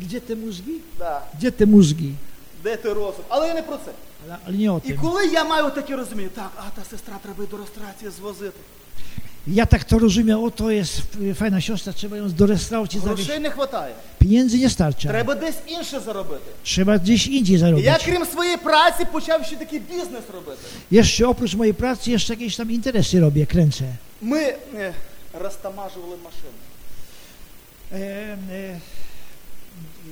Gdzie te mózgi? Да. Gdzie te mózgi? Де той розум? Але я не про це. Ale, ale nie o І tym. коли я маю таке розуміння, так, а та сестра треба й до ресторації звозити. Ja tak to rozumiem, o to jest fajna siostra, trzeba ją do restauracji zawieźć. Грошей не вистачає. Pieniędzy nie starcza, Треба десь інше заробити. trzeba gdzieś indziej І я, zarobić. крім своєї праці, почав ще такий бізнес робити. Jeszcze oprócz mojej pracy jeszcze jakieś tam interesy robię, kręcę. Ми е, розтамажували машини. E, e,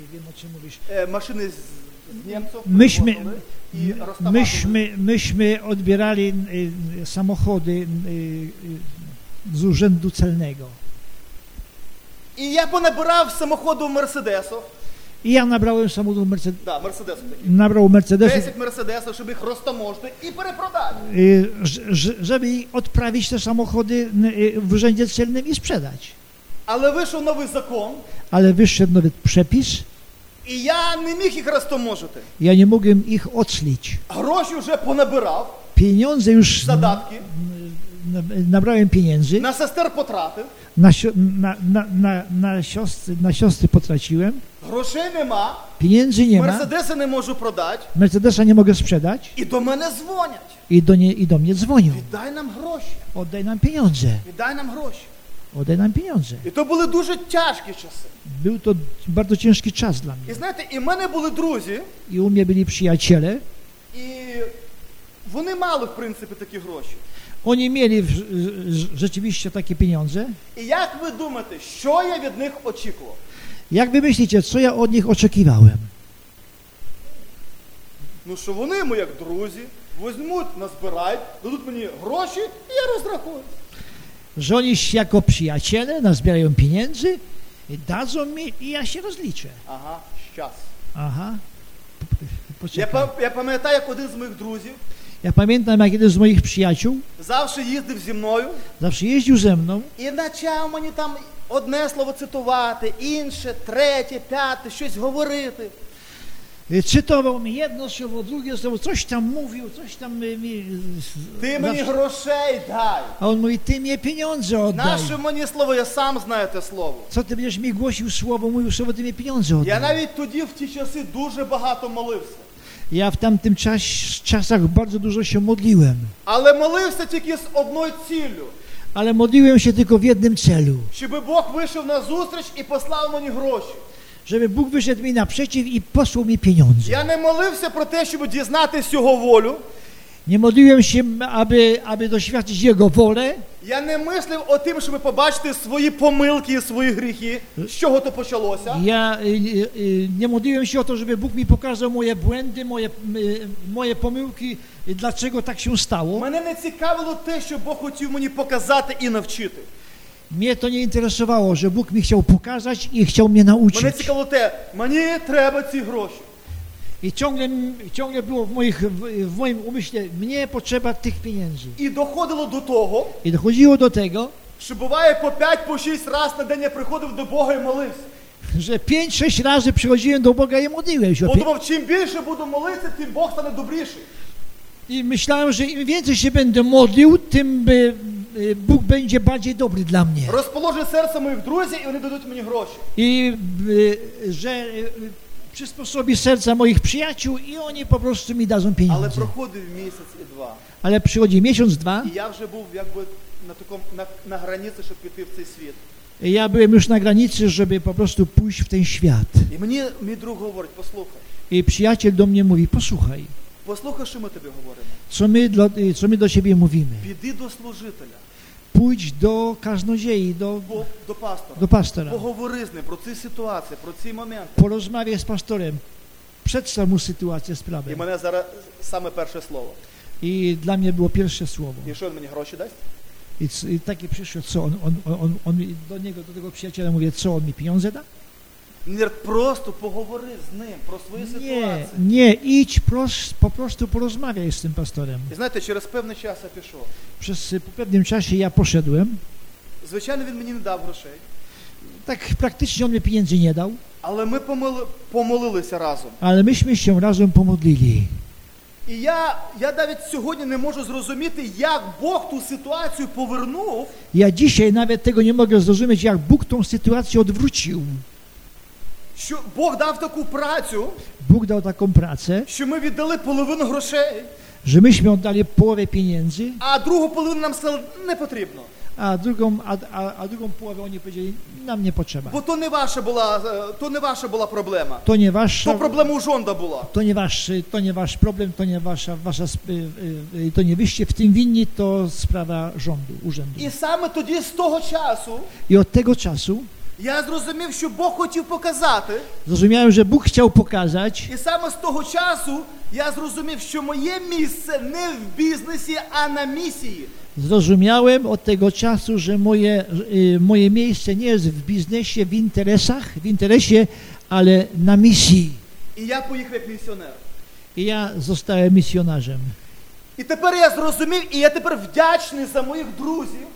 nie wiem o czym mówisz. Е, машини з, з німців Myśmy, привозили і розтамажували. myśmy, myśmy odbierali y, samochody y, y, z urzędu celnego. І я понабирав samochodu мерседесу. I ja nabrałem samochód Mercedes, Да, мерседесу такі. nabrał Mercedesów 10 мерседесів, щоб їх розтаможити і перепродати. Y, ż- ż- żeby odprawić te samochody n- y, w urzędzie celnym i sprzedać. Але вийшов новий закон, Ale wyszedł nowy przepis, і я не міг їх розтаможити. ja nie mogłem ich odslić. Гроші вже понабирав, Pieniądze już задатки, n- nabrałem pieniędzy, на сестер потратив, na, sio- na, na, na, na, siostry, na siostry potraciłem, грошей нема, pieniędzy nie ma, мерседеси не можу продати, Mercedesa nie mogę sprzedać і до мене дзвонять. i do, nie, i do mnie dzwonią. Віддай нам гроші, Oddaj nam pieniądze, віддай нам гроші. oddaj nam pieniądze. І то були дуже тяжкі часи. Był to bardzo ciężki czas dla І mnie. знаєте, і в мене були друзі, I u mnie byli przyjaciele, і вони мали, в принципі, такі гроші. Oni mieli w- z- rzeczywiście takie pieniądze. І як ви думаєте, що я від них очікував? Jak wy myślicie, co ja od nich oczekiwałem? Ну що вони, ми як друзі, візьмуть, назбирають, дадуть мені гроші, і я розрахуюсь. Że oni się jako przyjaciele nazbierają pieniędzy, dadzą mi i ja się rozliczę. Ага, щас. Aha. P- p- Я, Poczekaj. па- я пам'ятаю, як один з моїх друзів Ja pamiętam, jak jeden z moich przyjaciół завжди їздив зі мною zawsze jeździł ze mną і почав мені там одне слово цитувати, інше, третє, п'яте, щось говорити. y, cytował mi jedno słowo, drugie słowo, coś tam mówił, coś tam y, mi... z- Ти мені zawsze- грошей дай. A on mówi, ty mnie pieniądze oddaj. Наше мені слово, я сам знаю те слово. Co ty będziesz mi głosił słowo, mówił słowo, ty mnie pieniądze Я oddaj. навіть тоді в ті часи дуже багато молився. Ja w tamtym czas, czasach bardzo dużo się modliłem, Але молився тільки з одною ціллю, ale modliłem się tylko w jednym celu, щоб Бог вийшов на зустріч і послав мені гроші. żeby Bóg wyszedł mi naprzeciw i posłał mi pieniądze. Я не молився про те, щоб дізнатись його волю, Nie modliłem się, aby, aby doświadczyć Jego wolę, Я не мислив о тим, щоб побачити свої помилки і свої гріхи. З чого то почалося? Ja y, y, y, nie modliłem się o to, żeby Bóg mi pokazał moje błędy, moje, y, moje pomyłki, y, dlaczego tak się stało. Мене не цікавило те, що Бог хотів мені показати і навчити. Mnie to nie interesowało, że Bóg mi chciał pokazać i chciał mnie Мене nauczyć. цікавило те, мені треба ці гроші. I ciągle, ciągle było w, moich, w, w moim umyśle, mnie potrzeba tych pieniędzy. І доходило до того, I dochodziło do tego, що буває по 5 по 6 разів на день я приходив до Бога і молився. że pięć, sześć razy przychodziłem do Boga i modliłem się. Бо думав, чим більше буду молитися, тим Бог стане добріший. I myślałem, że im więcej się będę modlił, tym y, y, Bóg będzie bardziej dobry dla mnie. Розположу серце моїх друзів, і вони дадуть мені гроші. I y, że y, przysposobi serca moich przyjaciół i oni po prostu mi dadzą Але pieniądze. проходив місяць і два. Ale przychodzi miesiąc, dwa, І я вже був якби на такому на, на границі, щоб піти в цей світ. i ja byłem już na granicy, żeby po prostu pójść w ten świat. І мені мій друг говорить: послухай, I przyjaciel do mnie mówi, posłuchaj, послухай, що ми тобі говоримо. co my, dla, y, co my do siebie mówimy? Піди до служителя, Pójdź do kaznodziei, do, бо до пастора. do pastora, Поговори з ним про ці ситуації, про ці моменти. porozmawiaj z pastorem, przedstaw mu sytuację, І sprawę. мене зараз саме перше слово. I dla mnie było pierwsze słowo. І що він мені гроші дасть? I, c- i takie przyszło, co on, on, on, on, on mi- do niego, do tego przyjaciela mówię, co on mi pieniądze da? Ні, Просто поговори з ним про свої Nie, ситуації. nie, idź pros, po prostu porozmawiaj z tym pastorem. І знаєте, через певний час я пішов. Przez y, po pewnym czasie ja poszedłem, Звичайно, він мені не дав грошей, tak praktycznie on mi pieniędzy nie dał, але ми помили, помолилися разом. ale myśmy się razem pomodlili. І я, я навіть сьогодні не можу зрозуміти, як Бог ту ситуацію повернув Ja dzisiaj nawet tego nie mogę zrozumieć, jak Bóg tą sytuację odwrócił. Що Бог дав таку працю, Bóg dał taką pracę, що ми віддали половину грошей, że myśmy oddali połowę pieniędzy, а другу половину нам сказали, не potrzebno. a drugą, a, a, a drugą połowę oni powiedzieli, nam nie potrzeba. Бо то не ваша була, е, то не ваша була проблема. To nie wasza... То проблема у жонда була. To nie, wasz, to nie wasz problem, to nie wasza, wasza sp- y, y, y, to nie wyście w tym winni, to sprawa rządu, urzędu. І саме тоді, з того часу, I od tego czasu я зрозумів, що Бог хотів показати. zrozumiałem, że Bóg chciał pokazać І саме з того часу я зрозумів, що моє місце не в бізнесі, а на місії. Zrozumiałem od tego czasu, że moje, y, moje miejsce nie jest w biznesie, w interesach, w interesie, ale na misji. І я поїхав як місіонер. I ja zostałem misjonarzem. І тепер я зрозумів, і я тепер вдячний за моїх друзів,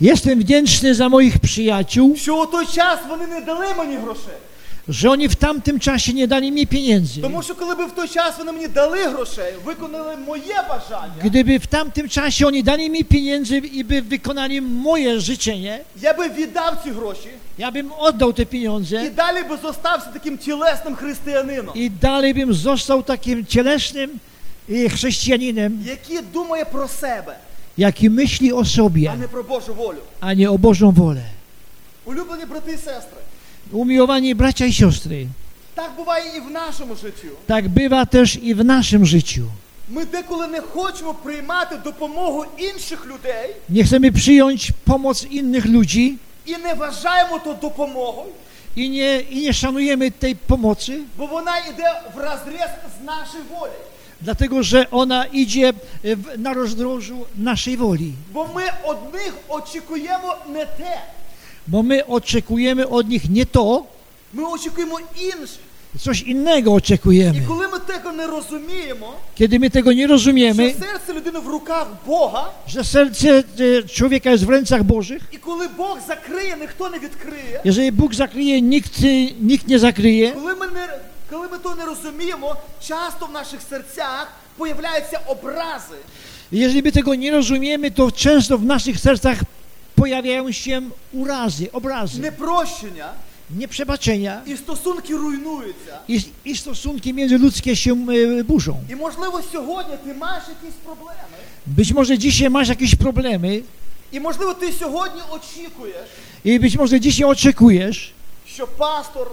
Jestem wdzięczny за moich przyjaciół, що у той час вони не дали мені грошей. że oni w tamtym czasie nie dali mi pieniędzy. Тому що коли б в той час вони мені дали грошей, виконали моє бажання, Gdyby w tamtym czasie oni dali mi pieniędzy i by wykonali moje życzenie, я би віддав ці гроші ja bym oddał te і pieniądze далі би зостався таким тілесним християнином, i dalej bym został takim cielesnym y, chrześcijaninem, який думає про себе, jaki myśli o а sobie, не про Божу волю. a nie o Bożą wolę. Улюблені брати і сестри, Umiłowani bracia i siostry, так буває і в нашому житті. tak bywa też i w naszym życiu. Ми деколи не хочемо приймати допомогу інших людей Nie chcemy przyjąć pomoc innych ludzi і не вважаємо то допомогою, i nie, i nie szanujemy tej pomocy, бо вона йде в розріз з нашої волі. dlatego że ona idzie y, w, na rozdrożu naszej woli. Бо ми одних очікуємо не те, Bo my oczekujemy od nich nie to, ми очікуємо інших. coś innego І oczekujemy. коли ми tego не розуміємо, Kiedy my tego nie rozumiemy, що серце людини в руках Бога, że serce e, człowieka jest w rękach Bożych, і коли Бог закриє, ніхто не відкриє. jeżeli Bóg zakryje, nikt, e, nikt nie zakryje, Коли ми не коли ми то не розуміємо, часто в наших серцях появляються образи. jeżeli my tego nie rozumiemy, to często w naszych sercach pojawiają się urazy, obrazy, Непрощення nieprzebaczenia і стосунки руйнуються. i, i stosunki międzyludzkie się e, burzą. І можливо сьогодні ти маєш якісь проблеми. Być może dzisiaj masz jakieś problemy І можливо ти сьогодні очікуєш, i być może dzisiaj oczekujesz, що пастор,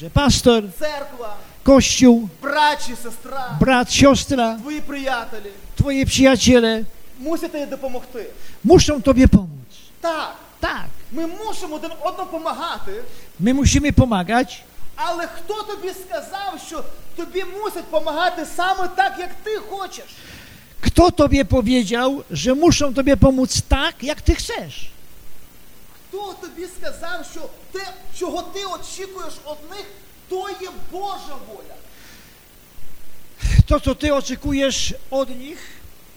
że pastor, церква, kościół, брат чи сестра, brat, siostra, твої приятелі Twoje przyjaciele мусите їй допомогти. Muszą Tobie pomóc. Так, Tak, ми мусимо один одному допомагати, my musimy pomagać, але хто тобі сказав, що тобі мусять допомагати саме так, як ти хочеш? Kto tobie powiedział, że muszą tobie pomóc tak, jak ty chcesz? Хто тобі сказав, що те, чого ти очікуєш від них, то є Божа воля. To, co ty oczekujesz od nich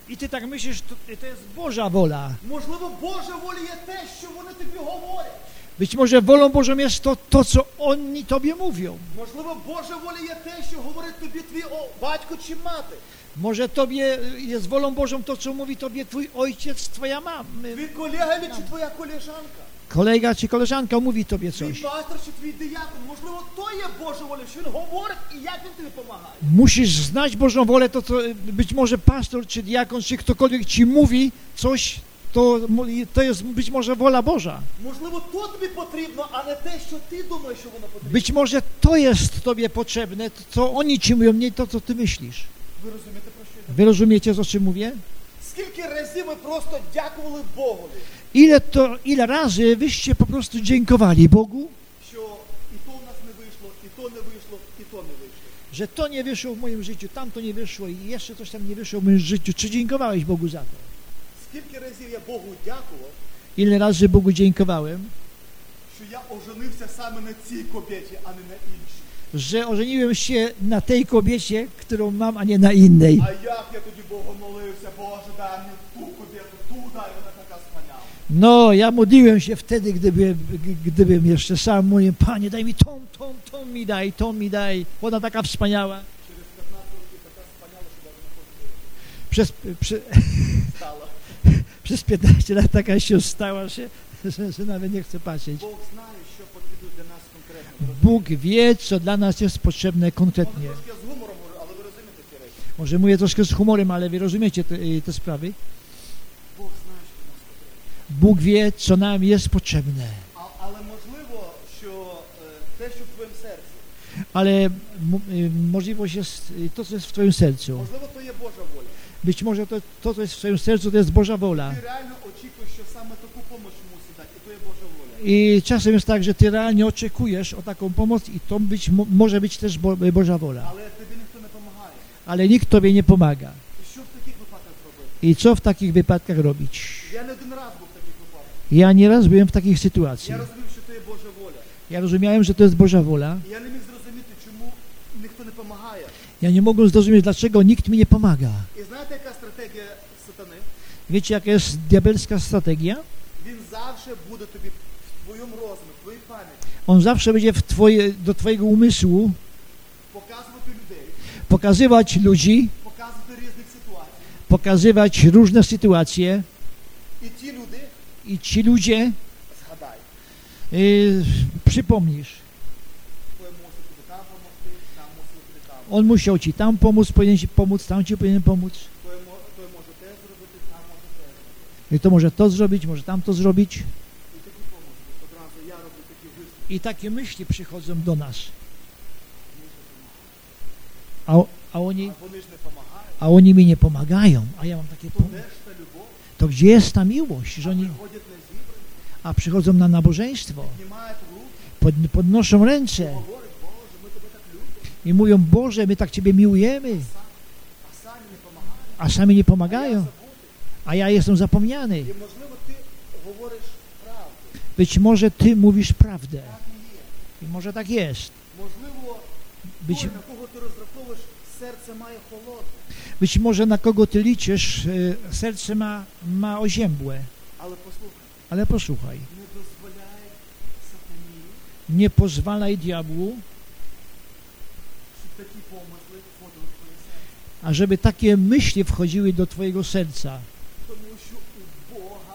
i ty tak myślisz, to, to jest Boża wola. Можливо, Божа воля є те, що вони тобі говорять. Być może wolą Bożą jest to, to co oni tobie mówią. Можливо, Божа воля є те, що говорить тобі твій о, батько чи мати, Może tobie y, jest wolą Bożą to, co mówi tobie twój ojciec, twoja mama, y, твій колега или чи твоя колежанка, kolega czy koleżanka mówi tobie твій coś. пастор чи твій диякон. Можливо, то є Божа воля, що він говорить і як він тобі допомагає. Musisz znać Bożą wolę, to, co y, być może pastor, czy diakon, czy ktokolwiek ci mówi coś, to, mo- to jest być może wola Boża. Можливо, то тобі потрібно, а не те, що ти думаєш, що воно потрібно. Być może to jest Tobie potrzebne, to co oni Ci mówią, nie to, co Ty myślisz. Ви розумієте про що я? Wy rozumiecie, o czym mówię? Скільки разів ми просто дякували Богові, Ile, to, ile razy wyście po prostu dziękowali Bogu, що і то в нас не вийшло, і то не wийшло, і то не вийшло. że to nie wyszło w moim życiu, tamto nie wyszło i jeszcze coś tam nie wyszło w moim życiu. Czy dziękowałeś Bogu za to? Скільки разів я Богу дякував, Ile razy Bogu dziękowałem, що я оженився саме на цій кобєті, а не на іншій. że ożeniłem się na tej kobiecie, którą mam, a nie na innej. А як я тоді Богу молився, Боже, дай мені ту кобєту, ту дай вона така сманяла. No, ja modliłem się wtedy, gdyby, g- gdybym jeszcze sam mówił, Panie, daj mi tą, tą, tą mi daj, tą mi daj, ona taka wspaniała. Через 15 років така сманяла, що навіть не хочу Przez, przy, [LAUGHS] стала. przez 15 lat taka się stała, że, że, że nawet nie chcę patrzeć. Бог знає, що потрібно для нас конкретно. Ви розумієте? Bóg wie, co dla nas jest potrzebne Може, konkretnie. трошки я з гумором говорю, але ви розумієте ці речі. Może mówię troszkę z humorem, ale wy rozumiecie te, y, te sprawy. Бог знає, що нам потрібно. Bóg wie, co nam jest potrzebne. А- але можливо, що е, те, що в твоєму серці, Ale m- y, możliwość jest y, to, co jest w twoim sercu. можливо, то є Божа воля. Być może to, to co jest w twoim sercu, to jest Boża wola. Ти реально очікуєш, що саме таку помощь мусить дати, і то є Божа воля. I czasem jest tak, że ty realnie oczekujesz o taką pomoc i to być, mo- może być też Bo Boża wola. Але тобі ніхто не допомагає. Ale nikt tobie nie pomaga. І що в таких випадках робити? I co в таких wypadkach robić? Я не один раз був в таких випадках. Ja nieraz byłem w takich Я sytuacjach. розумів, що то є Божа воля. Ja rozumiałem, że to jest Boża wola. І я не міг зрозуміти, чому ніхто не допомагає. Ja nie mogłem zrozumieć, dlaczego nikt mi nie pomaga. І знаєте, яка стратегія сатани? Wiecie, jaka jest diabelska strategia? Він завжди буде тобі в твоєму розумі, в твоїй пам'яті On zawsze będzie w twoje, do twojego umysłu показувати людей, pokazywać ludzi, показувати різних ситуацій. pokazywać różne sytuacje І ті люди, i ci ludzie, згадай, y, przypomnisz, твоє мусить тобі там допомогти, там мусить тобі там. on musiał ci tam pomóc, powinien ci pomóc, tam ci powinien pomóc. Той, мо- той може те зробити, там може те зробити. I to może to zrobić, може tam to zrobić. І такі поможе. Одразу я роблю такі висновки. I takie myśli przychodzą do nas. A, o- a oni... А вони ж не допомагають. a oni mi nie pomagają, a ja mam takie То pom- де ж та любов? to gdzie jest ta miłość, że oni, Приходять на зібрані, a przychodzą na nabożeństwo, піднімають руки, pod, podnoszą ręce говорять, Боже, ми тебе так любимо, i mówią, Boże, my tak Ciebie miłujemy, а самі не допомагають. a sami nie Я pomagają, забути. a ja jestem zapomniany. І можливо ти говориш правду. Być może Ty mówisz prawdę Так і є. i може так jest. Можливо, Być, той, на кого ти розраховуєш, серце має холодне. być może na kogo Ty liczysz, y, serce ma, ma oziębłe, Але послухай, ale posłuchaj, не дозволяй сатані, nie pozwalaj diabłu, щоб такі помисли входили в твоє серце. ażeby takie myśli wchodziły do Twojego serca, Тому що у Бога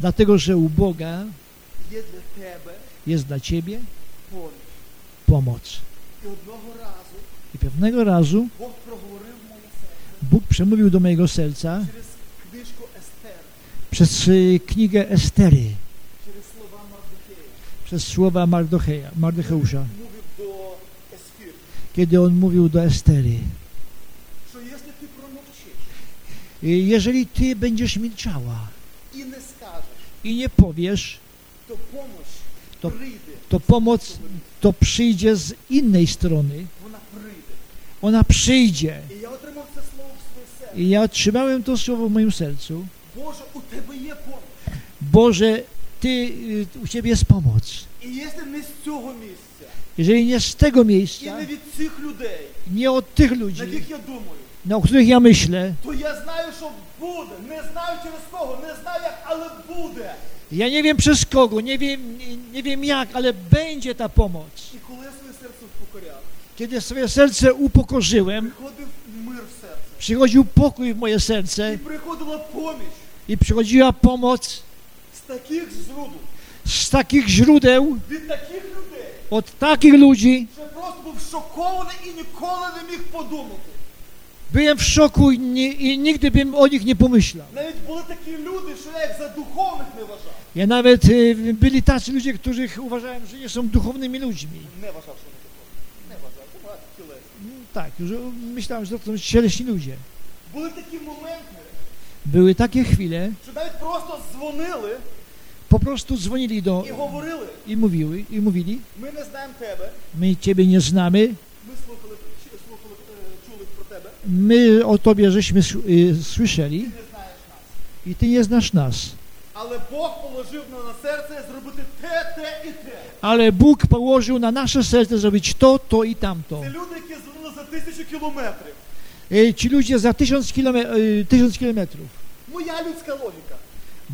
dlatego że u Boga є для тебе jest dla Ciebie поміч. pomoc. І одного разу I pewnego razu Бог проговорив моє серце Bóg przemówił do mojego serca через книжку Естер, przez y, knigę Estery, через слова Мардухея. przez słowa Mardocheja, Mardocheusza, Мовив до Есфір, kiedy on mówił do Estery, що якщо ти промовчиш, "E, jeżeli ty będziesz milczała і не скажеш, i nie powiesz, то помощ То- прийде. to pomoc to przyjdzie z innej strony. Вона прийде. Ona przyjdzie. І я отримав це слово в своє серце. I ja otrzymałem to słowo w moim sercu. Боже, у тебе є помощ. Boże, ty, y, u Ciebie jest pomoc. І якщо не з цього місця, Jeżeli nie z tego і miejsca, не від цих людей, nie od tych на ludzi, яких я думаю, na o których ja myślę, то я знаю, що буде. Не знаю через кого, не знаю як, але буде. ja nie wiem przez kogo, nie wiem, nie, nie wiem jak, ale będzie ta pomoc. І коли я своє серце впокоряв, Kiedy swoje serce upokorzyłem, приходив мир в серце. przychodził pokój w moje І serce приходила поміч i przychodziła pomoc з таких зруду, z takich źródeł, від таких людей, od takich ludzi. що я просто був шокований і ніколи не міг подумати. Byłem w szoku i, ni- i nigdy bym o nich nie pomyślał. Навіть були такі люди, що я їх за духовних не вважав. Ja nawet y, byli tacy ludzie, których uważałem, że nie są duchownymi ludźmi. Не вважав, що вони духовні. Не вважав, це багато тіле. Tak, już myślałem, że to są cieleśni ludzie. Були такі моменти, Były takie chwile, що навіть просто дзвонили po prostu dzwonili do і говорили, i mówiły, i mówili, ми не знаємо тебе, my Ciebie nie znamy, ми слухали, чи- слухали е, чули про тебе, my o Tobie żeśmy s- y, słyszeli ти не знаєш нас. i Ty nie znasz nas. Але Бог положив нам на серце зробити те, те і те. Ale Bóg położył na nasze serce zrobić to, to i tamto. Це люди, які звонили за тисячу кілометрів. Y, Ci ludzie za tysiąc, kilome- y, tysiąc kilometrów. Моя людська логіка.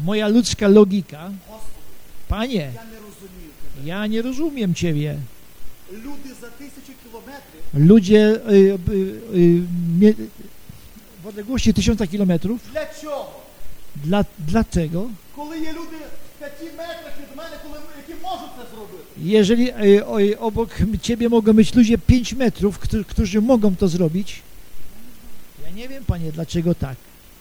Moja ludzka logika, Господи, Panie, я не розумію тебе. ja nie rozumiem Ciebie. Люди за тисячу кілометрів Ludzie y, y, y, mie- w odległości tysiąca kilometrów, для чого? dla, dlatego, Коли є люди в п'яті метрах від мене, коли ми- які можуть це зробити. Jeżeli e, o- e, obok m- ciebie mogą być ludzie 5 metrów, którzy, którzy mogą to zrobić, ja nie wiem, panie, dlaczego tak.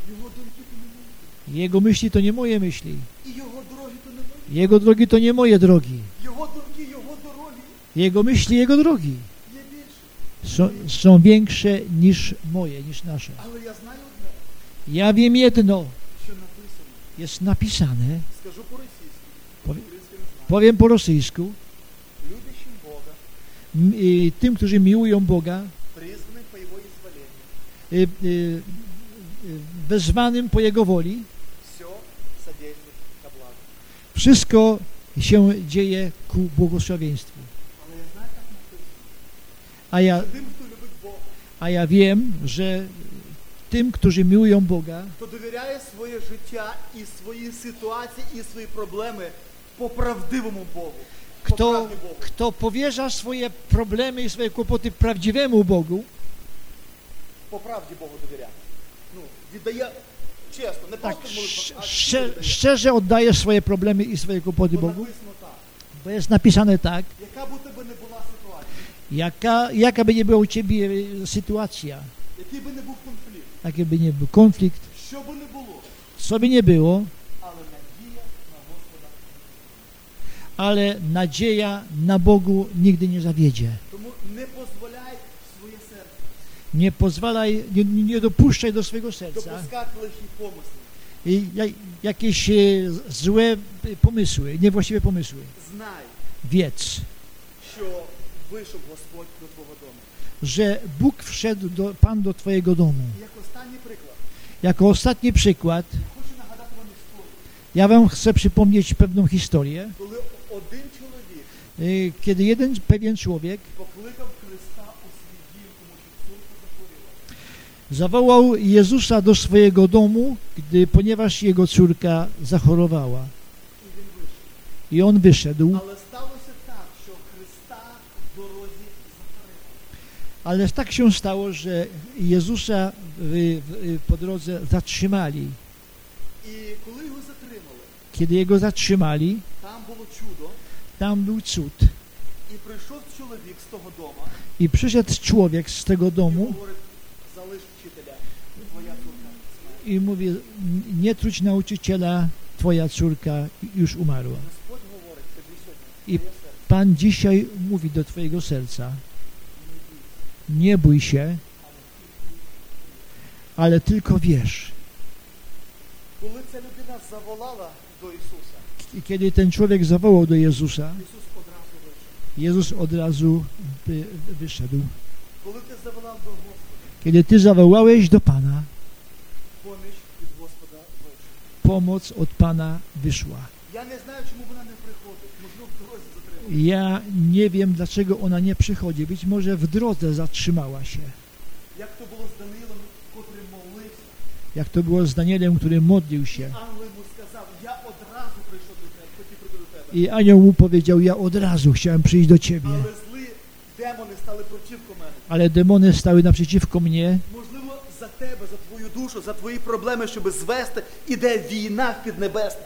Його думки то не мої. Jego myśli to nie moje myśli. І його дороги то не мої. Jego drogi to nie moje drogi. Його думки, його дороги Jego myśli, jego drogi є більше. są, są większe niż moje, niż nasze. Але я знаю одне, Ja wiem jedno, що написано. jest napisane, Скажу по-російськи, Пові- українськи не знаю. powiem po rosyjsku, Любящим Бога, m- e, tym, którzy miłują Boga, призваним по Його изволению, e, e, e, wezwanym po Jego woli, все содействует ко благу. Wszystko się dzieje ku błogosławieństwu. Але я знаю, як написано, A ja, що тим, хто любить Бога, a ja wiem, że tym, którzy miłują Boga, хто довіряє своє життя і свої ситуації, і свої проблеми по правдивому Богу. по kto, правді Богу. kto powierza swoje problemy i swoje kłopoty prawdziwemu Bogu, По правді Богу довіряє. Ну, віддає чесно, не tak просто sz- молитва, а szczer, віддає. szczerze oddaje swoje problemy i swoje kłopoty Бо Bogu, написано так. bo jest napisane tak, Яка б у тебе не була ситуація, jaka, jaka by nie była u Ciebie e, sytuacja, який би не був конфлікт, jaki by nie był konflikt, що би не було, co by nie było, але надія на Господа. ale nadzieja na Bogu nigdy nie zawiedzie. Тому не дозволяй своє серце Nie pozwalaj, nie, nie dopuszczaj do swojego serca допускати лихі помисли. i jak- jakieś e, złe e, pomysły, niewłaściwe pomysły. Знай, Wiedz, що вийшов Господь до твого дому. że Bóg wszedł do, Pan do Twojego domu. І як останній приклад, Jako ostatni przykład, я хочу нагадати вам історію, ja Wam chcę przypomnieć pewną historię, коли один чоловік e, kiedy jeden pewien człowiek покликав Христа у свій дім, тому що цурка захворіла. zawołał Jezusa do swojego domu, gdy, ponieważ jego córka zachorowała. І він вийшов. I on wyszedł, Але сталося так, що Христа в дорозі захворіла. ale tak się stało, że Jezusa w, w, po drodze zatrzymali. І коли його затримали, Kiedy jego zatrzymali, там було чудо, tam był cud. і прийшов чоловік з того дома I przyszedł człowiek z tego і domu говорить, залиш вчителя, твоя цурка смерть. i mówi, nie truć nauczyciela, twoja córka już umarła. Господь говорить тобі І- сьогодні, твоє серце, Pan dzisiaj mówi do twojego serca, не бійся, nie bój się, ale tylko wierz. і Коли ця людина заволала до Ісуса, I kiedy ten człowiek zawołał do Jezusa, Ісус одразу вийшов. Jezus od razu wy, wyszedł. Коли ти заволав до Господа, Kiedy ty zawołałeś do Pana, поміч від Господа вийшов. pomoc od Pana wyszła. Я не знаю, чому вона не приходить. Можливо, в дорозі затримала. Ja nie wiem, dlaczego ona nie przychodzi. Być może в drodze zatrzymała się. Як то було з Данилом, котрий молився, Jak to było z Danielem, który modlił się. ангел йому сказав, я одразу прийшов до тебе, хотів прийти до тебе. I anioł mu powiedział, ja od razu chciałem przyjść do ciebie. Але злі демони стали противко мене. Ale demony stały naprzeciwko mnie. Можливо, за тебе, за твою душу, за твої проблеми, щоб звести, іде війна в піднебесне.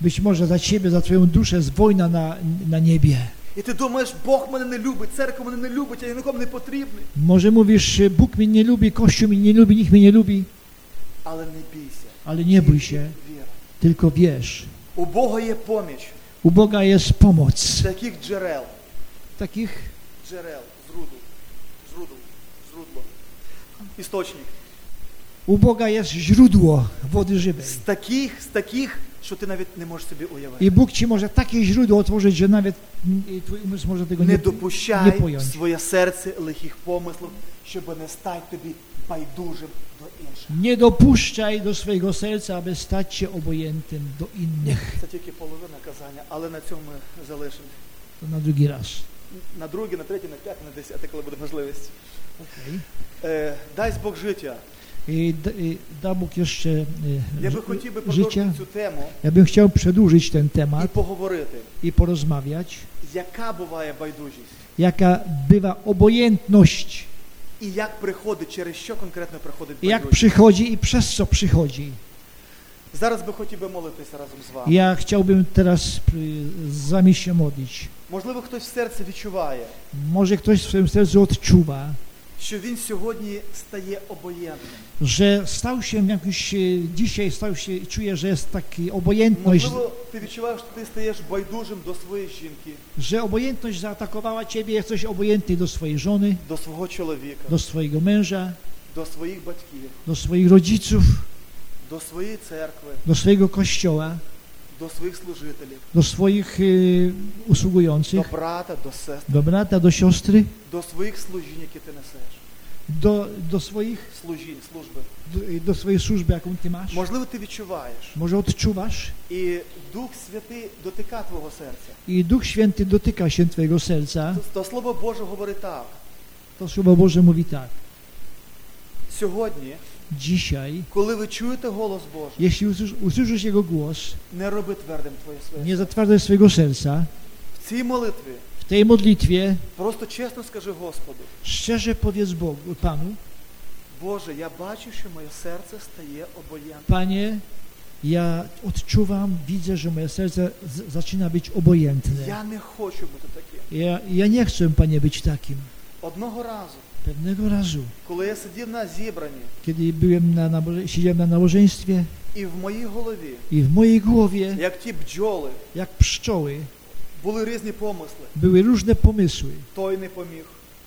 Być może za ciebie, za twoją duszę jest wojna na, na niebie. І ти думаєш, Бог мене не любить, церква мене не любить, я нікому не потрібний. Może mówisz, Bóg mnie nie lubi, Kościół mnie nie lubi, nikt mnie nie lubi. Але не бійся. Ale nie bój się, Віра. tylko wiesz. У Бога є поміч U Boga jest pomoc. з таких джерел. Takich Джерел, зруду, зруду, зрудло. Істочник. u Boga jest źródło wody żywej. З таких, з таких, що ти навіть не можеш собі уявити. I Bóg ci może takie źródło otworzyć, że nawet mm, i twój umysł może tego Не nie, nie допущай в pojąć. своє серце лихих помислів, щоб не стати тобі байдужим до інших. Nie dopuszczaj do swojego serca, aby stać się obojętnym do innych. Це тільки половина казання, але на цьому ми залишимо. To na drugi raz. На друге, на третє, на п'яте, на десяте, коли буде можливість. Okej. Е, дасть Бог життя. I, d- i da Bóg jeszcze y, Я би ży- хотів би życia. продовжити цю тему Ja bym chciał przedłużyć ten і temat поговорити, i porozmawiać, яка буває байдужість jaka bywa obojętność, і як приходить, через що конкретно приходить i jak байдужість. przychodzi i przez co przychodzi. Зараз би хотів би молитися разом з вами. Ja chciałbym teraz y, z nami się modlić. Можливо, хтось в серці відчуває, Może ktoś w swoim sercu odczuwa, що він сьогодні стає обоєнтним. że stał się jakiś, y, dzisiaj stał się, i czuje, że jest taki obojętność, Можливо, ти відчуваєш, що ти стаєш байдужим до своєї жінки, że obojętność zaatakowała ciebie, jesteś obojętny do swojej żony, до свого чоловіка, do swojego męża, до своїх батьків, do swoich rodziców, до своєї церкви, do swojego kościoła, до своїх служителів, do swoich y, до usługujących, брата, до сестри, do brata, do siostry, до своїх служінь, які ти несеш. do, do, swoich, Служінь, служби. do, y, do swojej służby, jaką ty masz. Можливо, ти відчуваєш, Może odczuwasz і Дух Святий дотика твого серця. i Duch Święty dotyka się twojego serca, То, то слово Боже говорить так: to Słowo Boże mówi tak. сьогодні, Dzisiaj, коли ви чуєте голос Божий, jeśli usłysz- usłyszysz Jego głos, не роби твердим твоє своє. nie zatwardzaj swojego serca. В цій молитві W tej modlitwie просто чесно скажи Господу. szczerze powiedz Bogu, Panu, Боже, я бачу, що моє серце стає обоєнним. Panie, ja odczuwam, widzę, że moje serce z- zaczyna być obojętne. Я не хочу бути таким. Ja, ja nie chcę, Panie, być takim. Одного разу, Pewnego razu, коли я сидів на зібранні, kiedy byłem na naboże, siedziałem na nabożeństwie і в моїй голові, i w mojej głowie, як ті бджоли, jak pszczoły, були різні помисли. były różne pomysły. Той не поміг,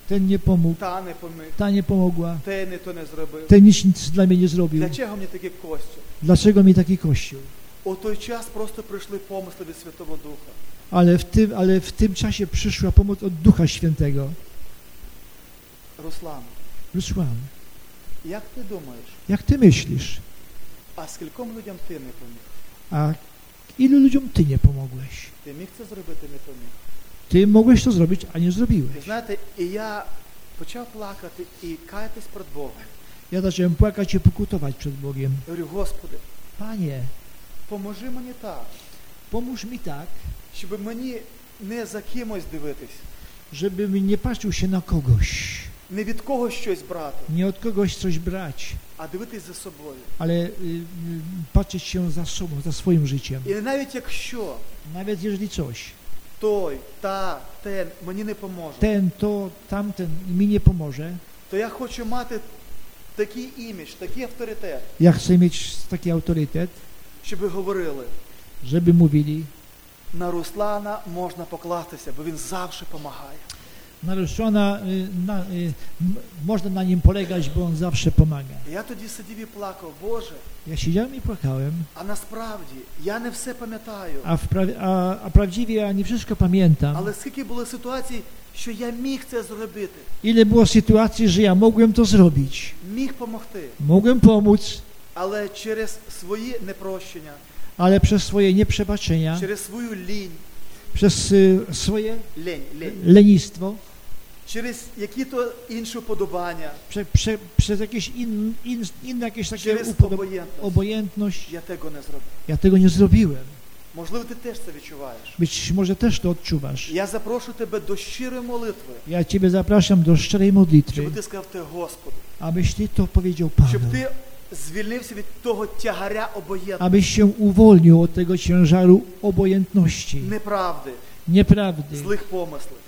Ten nie pomógł, та не поміг, ta nie pomogła, те не то не зробив. ten nic, nic dla mnie nie zrobił. Для чого мені такі кості? Dlaczego mi taki kościół? У той час просто прийшли помисли від Святого Духа. Ale w, tym, ale w tym czasie przyszła pomoc od Ducha Świętego. Руслан, Rusłam, як ти думаєш, jak ty myślisz, а скільком людям ти не поміг? a ilu ludziom ty nie pomogłeś? Ти міг це зробити, не поміг. Ty mogłeś to zrobić, a nie zrobiłeś. Ви знаєте, і я почав плакати і каятись перед Богом. Ja zacząłem płakać i pokutować przed Bogiem. Я говорю, Господи, Panie, поможи мені так, pomóż mi tak, щоб мені не за кимось дивитись, żebym nie patrzył się na kogoś, не від когось щось брати, nie od kogoś coś brać, а дивитись за собою. ale y, y, patrzeć się za sobą, za swoim życiem. І навіть якщо Nawet jeżeli coś, той, та, те мені не поможе, ten, to, tamten mi nie pomoże, то я хочу мати такий імідж, такий авторитет, ja chcę mieć taki autorytet, щоб ви говорили. żeby mówili, На Руслана можна покластися, бо він завжди допомагає. naruszona, y, na, y, m- można na nim polegać, bo on zawsze pomaga. І Я тоді сидів і плакав, Боже, Ja siedziałem i płakałem, а насправді я не все пам'ятаю. a, wpra- a, a prawdziwie ja nie wszystko pamiętam. Але скільки було ситуацій, що я mig це зробити, Ile było sytuacji, że ja mogłem to zrobić. міг помогти, Mogłem pomóc, але через свої непрощення, ale przez swoje nieprzebaczenia, через свою лінь, przez y, swoje лень, лень, lenistwo, через які-то інші подобання, prze, prze, przez jakieś in, in, inne jakieś takie через upodob- обоєнтність, obojętność, я того не зробив. ja tego nie zrobiłem. Можливо, ти теж це відчуваєш. Być może też to odczuwasz. Я запрошую тебе до щирої молитви, Ja Ciebie zapraszam do szczerej щоб modlitwy, ти сказав те Господу, abyś Ty to powiedział Panu, щоб ти звільнився від того тягаря обоєнтності, abyś się uwolnił od tego ciężaru obojętności, неправди, nieprawdy, злих помислів.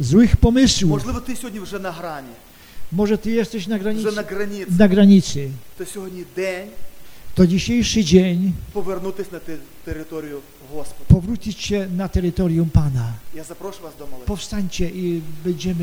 złych pomysłów. Можливо, ти сьогодні вже на грані, Może Ty jesteś na granicy, вже на границі. na granicy. То сьогодні день To dzisiejszy dzień повернутися на те- територію Господа. powrócić się na terytorium Pana. Я запрошую вас до молитви. Powstańcie i będziemy